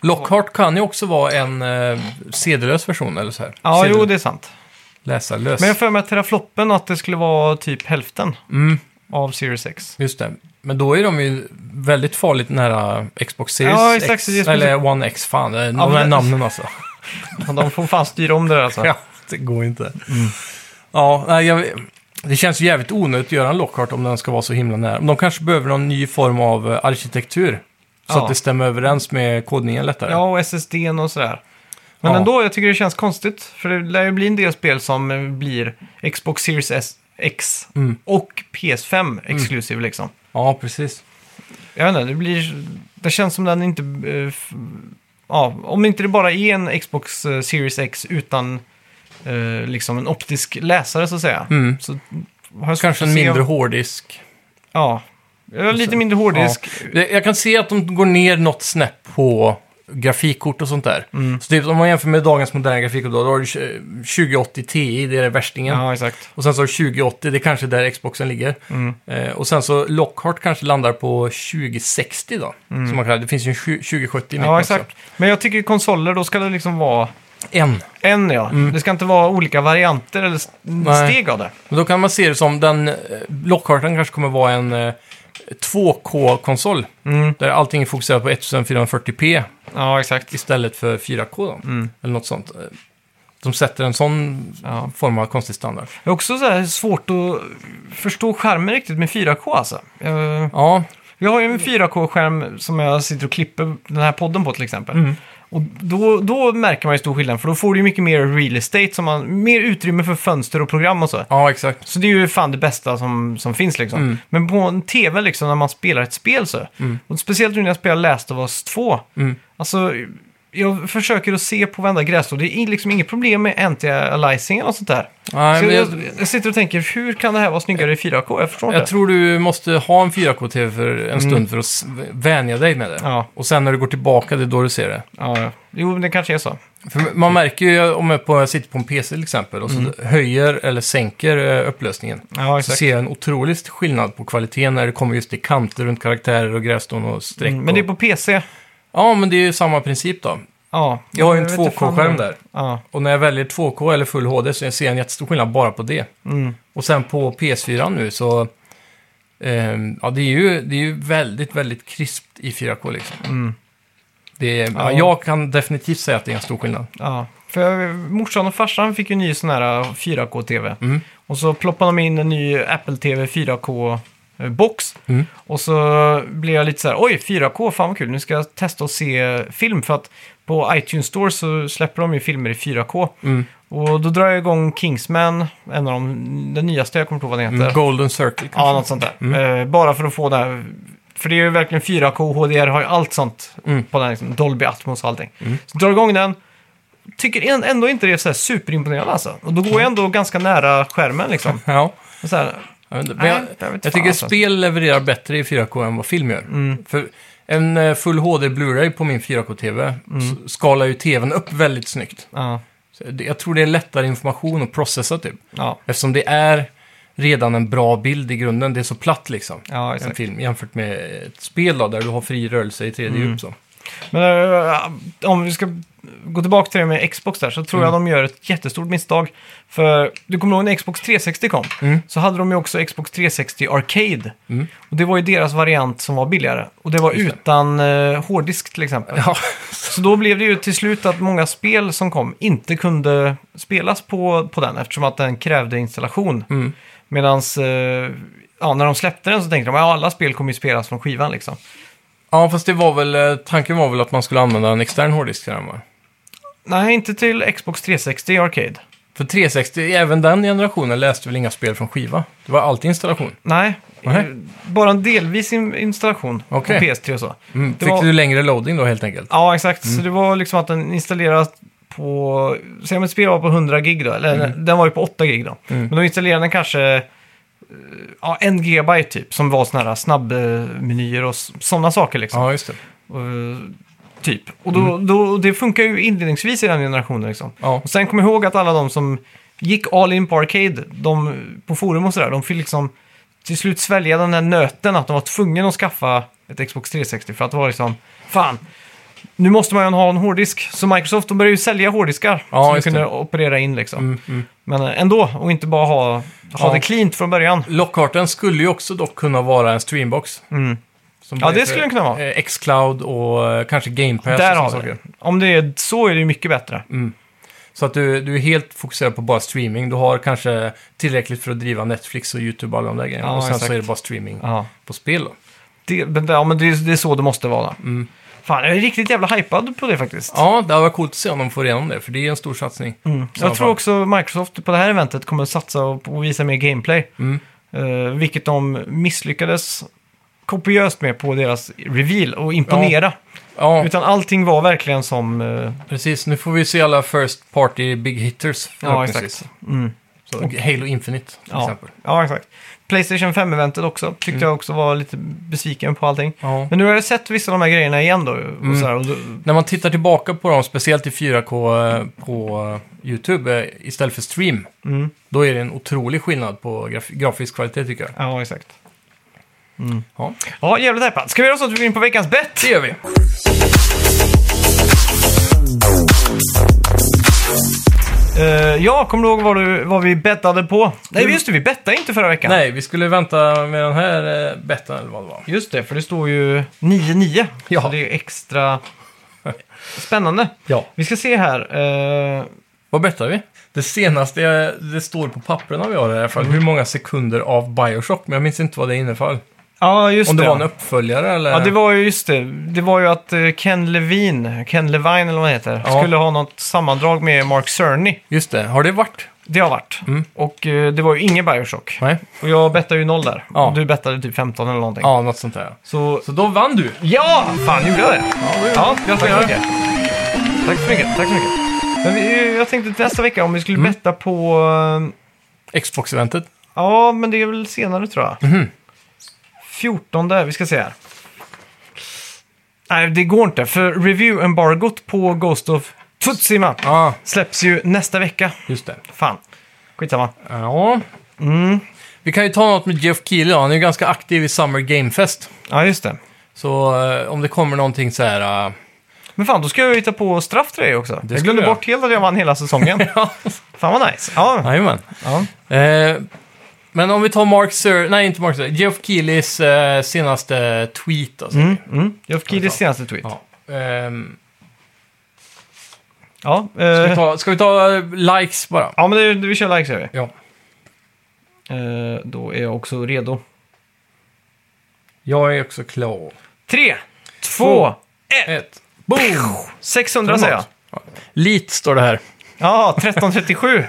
B: Lockhart kan ju också vara en eh, sedelös version eller så här.
A: Ja,
B: Sedel-
A: jo det är sant.
B: Läsarlös.
A: Men jag har för mig att terafloppen att det skulle vara typ hälften
B: Mm.
A: av Series X.
B: Just det. Men då är de ju väldigt farligt nära eh, Xbox Series
A: Ja, exakt.
B: X,
A: Det är som-
B: eller One X. Fan, det är de här
A: men-
B: namnen alltså.
A: Fan, De får fan styra om det där alltså.
B: Ja, det går inte. Ja, nej, jag, det känns ju jävligt onödigt att göra en Lockhart om den ska vara så himla nära. De kanske behöver någon ny form av eh, arkitektur. Så
A: Ja.
B: att det stämmer överens med kodningen lättare.
A: Ja, och SSD och sådär. Men
B: Ja.
A: ändå, jag tycker det känns konstigt. För det lär ju bli en del spel som eh, blir Xbox Series S X
B: Mm.
A: och PS5 exklusiv liksom.
B: Ja, precis.
A: Jag vet inte, det blir... Det känns som den inte... eh, f- ja, om inte det bara är en Xbox eh, Series X utan eh, liksom en optisk läsare så att säga.
B: Mm.
A: Så har jag svårt
B: Kanske
A: att
B: en
A: se
B: mindre
A: om-
B: hårddisk.
A: Ja. Jag har lite mindre hårddisk.
B: Ja. Jag kan se att de går ner något snäpp på grafikkort och sånt där.
A: Mm.
B: Så typ om man jämför med dagens moderna grafikkort, då har du tj- 2080 Ti, det är det värstingen.
A: Ja, exakt. Mm.
B: Och sen så har du 2080, det är kanske där Xboxen ligger. Eh, och sen så Lockhart kanske landar på 2060 då. Som man kallar det. Det finns ju en tju- 2070 i mitten
A: Mm. Ja, exakt. Men jag tycker konsoler, då ska det liksom vara...
B: också. En.
A: En ja.
B: Mm.
A: Det ska inte vara olika varianter eller st- steg av det.
B: Men då kan man se det som den... eh, Lockharten kanske kommer vara en eh, 2K-konsol.
A: Mm.
B: Där allting är fokuserat på 1440p
A: Ja, exakt.
B: istället för 4K då. Eller något sånt. Eh, De sätter en sån
A: Mm. Ja.
B: form av konstig standard.
A: Det är också så här svårt att förstå skärmen riktigt med 4K alltså. Jag,
B: Ja,
A: jag har ju en 4K-skärm som jag sitter och klipper den här podden på till exempel.
B: Mm.
A: Och då, då märker man ju stor skillnad, för då får du ju mycket mer real estate, som man, mer utrymme för fönster och program och så.
B: ja exakt.
A: Så det är ju fan det bästa som, som finns liksom.
B: Mm.
A: Men på en tv liksom, när man spelar ett spel så. Och speciellt nu när jag spelar Last of Us 2.
B: Mm.
A: Alltså, jag försöker att se på varenda grässtrå. Det är liksom inget problem med anti-aliasingen och sånt där.
B: Nej,
A: så
B: men
A: jag,
B: jag-
A: jag sitter och tänker, hur kan det här vara snyggare i 4K? Jag förstår
B: Jag
A: inte.
B: tror du måste ha en 4K-TV för en stund för att s- vänja dig med det.
A: Mm. Ja.
B: Och sen när du går tillbaka, det är då du ser det.
A: Ja, ja. Jo, det kanske är så.
B: För man märker ju om jag, på, jag sitter på en PC till exempel och så höjer eller sänker eh, upplösningen.
A: Ja,
B: Så
A: exakt.
B: ser jag en otrolig skillnad på kvaliteten när det kommer just till kanter runt karaktärer och gräston och streck.
A: Mm, Men det är på PC.
B: Ja, men det är ju samma princip då.
A: Ja.
B: Jag har ju en
A: vet inte fan
B: 2K-skärm
A: vad-
B: där.
A: Ja.
B: Och när jag väljer 2K eller Full HD så ser jag en jättestor skillnad bara på det.
A: Mm.
B: Och sen på PS4 nu så... ehm, ja, det är, ju, det är ju väldigt, väldigt krispt i 4K liksom. Det är, ja.
A: Ja.
B: jag kan definitivt säga att det är en stor skillnad.
A: Ja, för morsan och farsan fick ju ny sån här eh, 4K-TV.
B: Mm.
A: Och så ploppade de in en ny Apple TV 4K-box.
B: Mm.
A: eh, Och så blev jag lite så här, oj 4K, fan vad kul, nu ska jag testa och se film. För att på iTunes Store så släpper de ju filmer i 4K.
B: Mm.
A: Och då drar jag igång Kingsman, en av de, den nyaste, jag kommer inte ihåg vad den heter.
B: Mm. Golden Circle kanske.
A: Ja, något sånt där. Eh, bara för att få det här. För det är ju verkligen 4K, HDR har ju allt sånt
B: Mm.
A: på den här, liksom, Dolby Atmos och allting. Så drar igång den. Tycker en- ändå inte det är så här superimponerande alltså. Och då går jag ändå ganska nära skärmen liksom.
B: Ja.
A: Och Så här,
B: Jag, vet inte, men
A: Nej,
B: jag,
A: jag vet
B: jag
A: fan,
B: tycker
A: alltså. Mm.
B: spel levererar bättre i 4K än vad film gör. För en eh, full HD Blu-ray på min 4K-TV
A: Mm.
B: s- skalar ju TVn upp väldigt snyggt.
A: ja,
B: Så det- Jag tror det är lättare information att processa typ.
A: ja,
B: Eftersom det är redan en bra bild i grunden. Det är så platt liksom.
A: ja,
B: en
A: exakt.
B: film jämfört med ett spel då, där du har fri rörelse i
A: Mm.
B: 3D djup. Så.
A: Men eh, om vi ska gå tillbaka till det med Xbox där så tror
B: Mm.
A: jag de gör ett jättestort misstag. För du kommer ihåg när Xbox 360 kom
B: Mm.
A: så hade de ju också Xbox 360 Arcade. Och det var ju deras variant som var billigare. Och det var
B: Just det.
A: utan eh, hårddisk till exempel.
B: Ja,
A: Så då blev det ju till slut att många spel som kom inte kunde spelas på, på den eftersom att den krävde installation.
B: Mm.
A: Medan ja, när de släppte den så tänkte de att ja, alla spel kommer ju spelas från skivan liksom.
B: ja fast det var väl, eh, tanken var väl att man skulle använda en extern hårddisk till den va?
A: Nej, inte till Xbox 360 Arcade.
B: För 360, även den generationen läste väl inga spel från skiva? Det var alltid installation.
A: Nej,
B: Nej.
A: eh, bara en delvis in- installation
B: Okej.
A: på PS3 och så.
B: Mm,
A: Det
B: fick
A: var-
B: du längre loading då helt enkelt?
A: Ja, exakt.
B: Mm.
A: Så det var liksom att den installeras på... Säg om ett spel var på 100 gig då, eller
B: Mm.
A: den var ju på 8 gig då. Men då installerade den kanske eh, ja, en gigabyte typ, som var sådana här snabbmenyer och sådana saker liksom.
B: Ja, Mm. just det.
A: Och, eh, typ. Och då, då, det funkar ju inledningsvis i den generationen liksom.
B: Ja.
A: Och sen kom jag ihåg att alla de som gick all in på Arcade, de, på forum och sådär, de fick liksom till slut svälja den där nöten att de var tvungna att skaffa ett Xbox 360 för att det var liksom, fan, nu måste man ju ha en hårddisk. Så Microsoft, de började ju sälja hårddiskar
B: Ja,
A: som de
B: just det.
A: kunde operera in liksom.
B: Mm, mm.
A: Men eh, ändå, och inte bara ha, ha
B: Ja.
A: det cleant från början.
B: Lockharten skulle ju också dock kunna vara en streambox.
A: Mm.
B: Som
A: Ja,
B: blev
A: det skulle
B: för,
A: den kunna vara.
B: eh, Xcloud och eh, kanske Game Pass
A: Där
B: och
A: har
B: såna
A: vi det.
B: saker. Mm.
A: Om det är så är det ju mycket bättre.
B: Så att du, du är helt fokuserad på bara streaming. Du har kanske tillräckligt för att driva Netflix och YouTube och alla de där grejerna.
A: Ja,
B: och sen
A: exakt.
B: så är det bara streaming
A: Ja.
B: på spel då.
A: Det, men det- ja, men det, är- det är så det måste vara. Fan, jag är riktigt jävla hypad på det faktiskt.
B: Mm. Ja, det var coolt att se om de får igenom det, för det är en stor satsning.
A: Mm. Jag tror också Microsoft på det här eventet kommer satsa och och visa mer gameplay.
B: Mm.
A: Eh, vilket de misslyckades kopiöst med på deras reveal och imponera.
B: Ja,
A: Utan allting var verkligen som... eh,
B: precis. Nu får vi se alla first party big hitters. förhoppningsvis.
A: exakt. mm.
B: Så, Halo Infinite till
A: Ja.
B: exempel.
A: Ja, exakt. Playstation 5-eventet också tyckte
B: Mm.
A: jag också var lite besviken på allting.
B: Ja.
A: Men nu har jag sett vissa av de här grejerna igen då. Och
B: Mm.
A: så här, och då
B: När man tittar tillbaka på dem, speciellt i 4K eh, på eh, YouTube eh, istället för stream,
A: mm.
B: då är det en otrolig skillnad på graf grafisk kvalitet tycker jag.
A: Ja, exakt. Mm.
B: Ja,
A: Ja, jävligt hypad. Ska vi göra så att vi går in på veckans bett?
B: det gör vi.
A: Eh, ja, kommer du ihåg vad, du, vad vi bettade på? Nej, just det, vi bettade inte förra veckan.
B: Nej, vi skulle vänta med den här eh, betten eller vad det var.
A: Just det, för det står ju 9-9.
B: Ja.
A: Så det är ju extra spännande.
B: Ja.
A: Vi ska se här. eh,
B: Vad bettar vi? Det senaste eh, det står på papperna vi har i alla fall, hur många sekunder av Bioshock, men jag minns inte vad det innefall.
A: ja, just
B: Om det
A: det.
B: var en uppföljare eller?
A: Ja, det var ju just det. Det var ju att eh, Ken Levine, Ken Levine eller vad han heter,
B: Ja.
A: skulle ha något sammandrag med Mark Cerny.
B: Just det, har det varit?
A: Det har varit. Och eh, det var ju ingen Bioshock.
B: Nej.
A: Och jag bettade ju noll där.
B: Ja.
A: Och du bettade typ 15 eller någonting.
B: Ja, något sånt där.
A: Så,
B: Så då vann du!
A: ja! Fan, gjorde jag det? Ja, gratulerar.
B: Tack så
A: Tack så mycket. Tack så mycket. Men vi, jag tänkte nästa vecka om vi skulle betta på... eh,
B: Xbox-eventet.
A: Ja, men det är väl senare tror jag.
B: Mhm.
A: 14, vi ska se här. Nej, det går inte, för review-embargot på Ghost of Tsushima
B: Ja,
A: släpps ju nästa vecka.
B: just det.
A: Fan, skitsamma.
B: Ja. Mm. Vi kan ju ta något med Jeff Keely då. Han är ju ganska aktiv i Summer Game Fest.
A: Ja, just det.
B: Så eh, om det kommer någonting så här... eh,
A: Men fan, då ska jag ju hitta på straff till dig också.
B: Det
A: jag
B: ska
A: glömde
B: du
A: bort helt att jag vann hela säsongen.
B: ja,
A: fan vad nice. Ja.
B: jajamän.
A: Ja.
B: Eh, men om vi tar Mark Sur... Nej, inte Mark Sur. Geoff Keelys eh, senaste tweet. Alltså.
A: Mm, mm. Jag fick i det senaste tweet.
B: Ja. Ehm,
A: Ja,
B: ska, vi
A: eh,
B: ta, ska vi ta eh, likes bara?
A: ja men det, vi kör likes gör vi.
B: Ja.
A: Eh, då är jag också redo.
B: Jag är också klar.
A: Tre, två, ett.
B: Ett. Boom!
A: 600 säger jag.
B: Lit står det här.
A: Ja, 1337.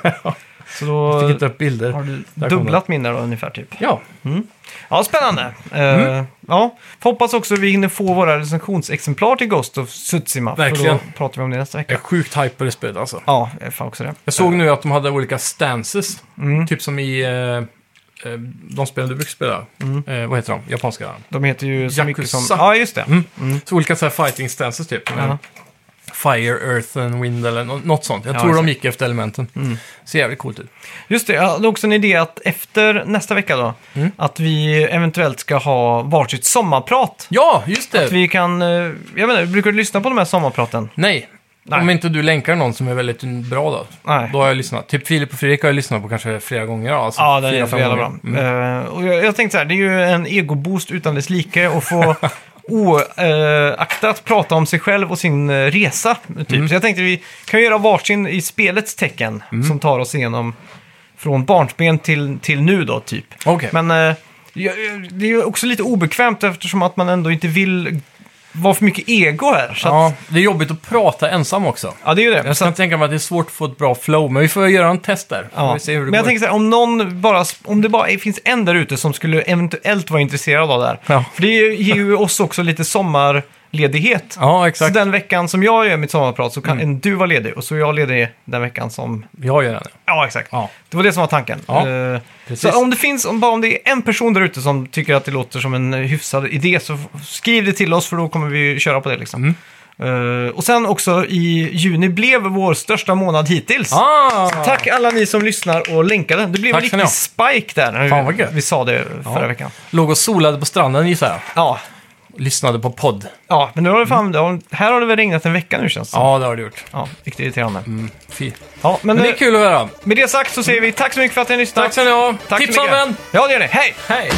A: Så då
B: Fick inte upp bilder.
A: har du
B: Där kom
A: dubblat min där då ungefär typ.
B: Ja,
A: Ja, spännande. Eh,
B: Mm.
A: ja. Får hoppas också vi hinner få våra recensionsexemplar till Ghost of Tsushima.
B: Verkligen.
A: För då pratar vi om det nästa
B: jag
A: vecka.
B: är sjukt hype på det spelet alltså.
A: Ja, jag är fan också det.
B: Jag såg nu att de hade olika stances.
A: Eh. Mm.
B: Typ som i eh, eh, de spel du brukar spela.
A: Mm.
B: Eh, vad heter de? Japanska.
A: De heter ju så mycket som...
B: Yakuza. Mm.
A: Ja, just det.
B: Så olika så här fighting stances typ.
A: Ja.
B: Fire, earth and wind eller nå- något sånt. Jag
A: Ja,
B: tror de
A: exakt. Mm.
B: gick efter elementen. Ser jävligt coolt ut.
A: Just det, jag hade också en idé att efter nästa vecka då,
B: Mm.
A: att vi eventuellt ska ha varsitt sommarprat.
B: Ja, just det!
A: Vi kan, eh, jag menar, brukar du lyssna på de här sommarpraten?
B: Nej.
A: Nej.
B: Om inte du länkar någon som är väldigt bra då.
A: Nej.
B: Då har jag lyssnat. Typ Filip och Fredrik har jag lyssnat på kanske flera gånger. Alltså
A: Ja, den är
B: fyra,
A: så
B: fem
A: jävla bra.
B: gånger. Mm.
A: Eh, och jag, jag tänkte så här, det är ju en egoboost utan dess like att få oaktat prata om sig själv och sin eh, resa. Typ.
B: Mm.
A: Så jag tänkte vi kan ju göra varsin i spelets tecken som tar oss igenom från barnsben till, till nu då, typ.
B: Okej.
A: Men eh, jag- jag- det är ju också lite obekvämt eftersom att man ändå inte vill vara för mycket ego här. Så ja. Att,
B: Ja, det är jobbigt att prata ensam också.
A: ja, det är ju det.
B: Jag
A: Så
B: kan
A: att,
B: tänka mig att det är svårt att få ett bra flow, men vi får göra en test där. Får
A: ja.
B: vi se hur det
A: Men jag
B: går.
A: tänker så här, om någon bara, om det bara finns en där ute som skulle eventuellt vara intresserad av det här,
B: Ja.
A: För det ger ju oss också lite sommarledighet.
B: ja,
A: så
B: exakt. Mm.
A: den veckan som jag gör mitt sommarprat så kan du vara ledig och så är jag ledig den veckan som...
B: Jag gör den.
A: Ja, exakt.
B: Ja.
A: Det var det som var tanken.
B: Ja,
A: Eh,
B: precis.
A: så om det finns, om, bara om det är en person där ute som tycker att det låter som en eh, hyfsad idé så f- skriv det till oss för då kommer vi köra på det liksom.
B: Mm.
A: Eh, och sen också i juni blev vår största månad hittills.
B: Ah!
A: Tack alla ni som lyssnar och länkade. Det blev
B: Tack
A: en
B: ska
A: riktig
B: ni
A: spike där när
B: Fan, vad
A: vi,
B: gött.
A: vi sa det förra
B: Ja.
A: veckan.
B: Låg och solade på stranden gissar jag.
A: Ja,
B: Lyssnade på podd.
A: Ja, men nu har det fan, här har det väl regnat en vecka nu känns det som.
B: Mm. Ja, det har du gjort.
A: Ja, riktigt irriterande.
B: Fy.
A: Ja, men,
B: Men det
A: eh,
B: är kul att höra.
A: med det sagt så säger vi tack så mycket för att ni lyssnade.
B: Tack ska ni ha.
A: Tack så
B: Tips av
A: mycket.
B: en.
A: Ja, det gör ni. Hej!
B: Hej!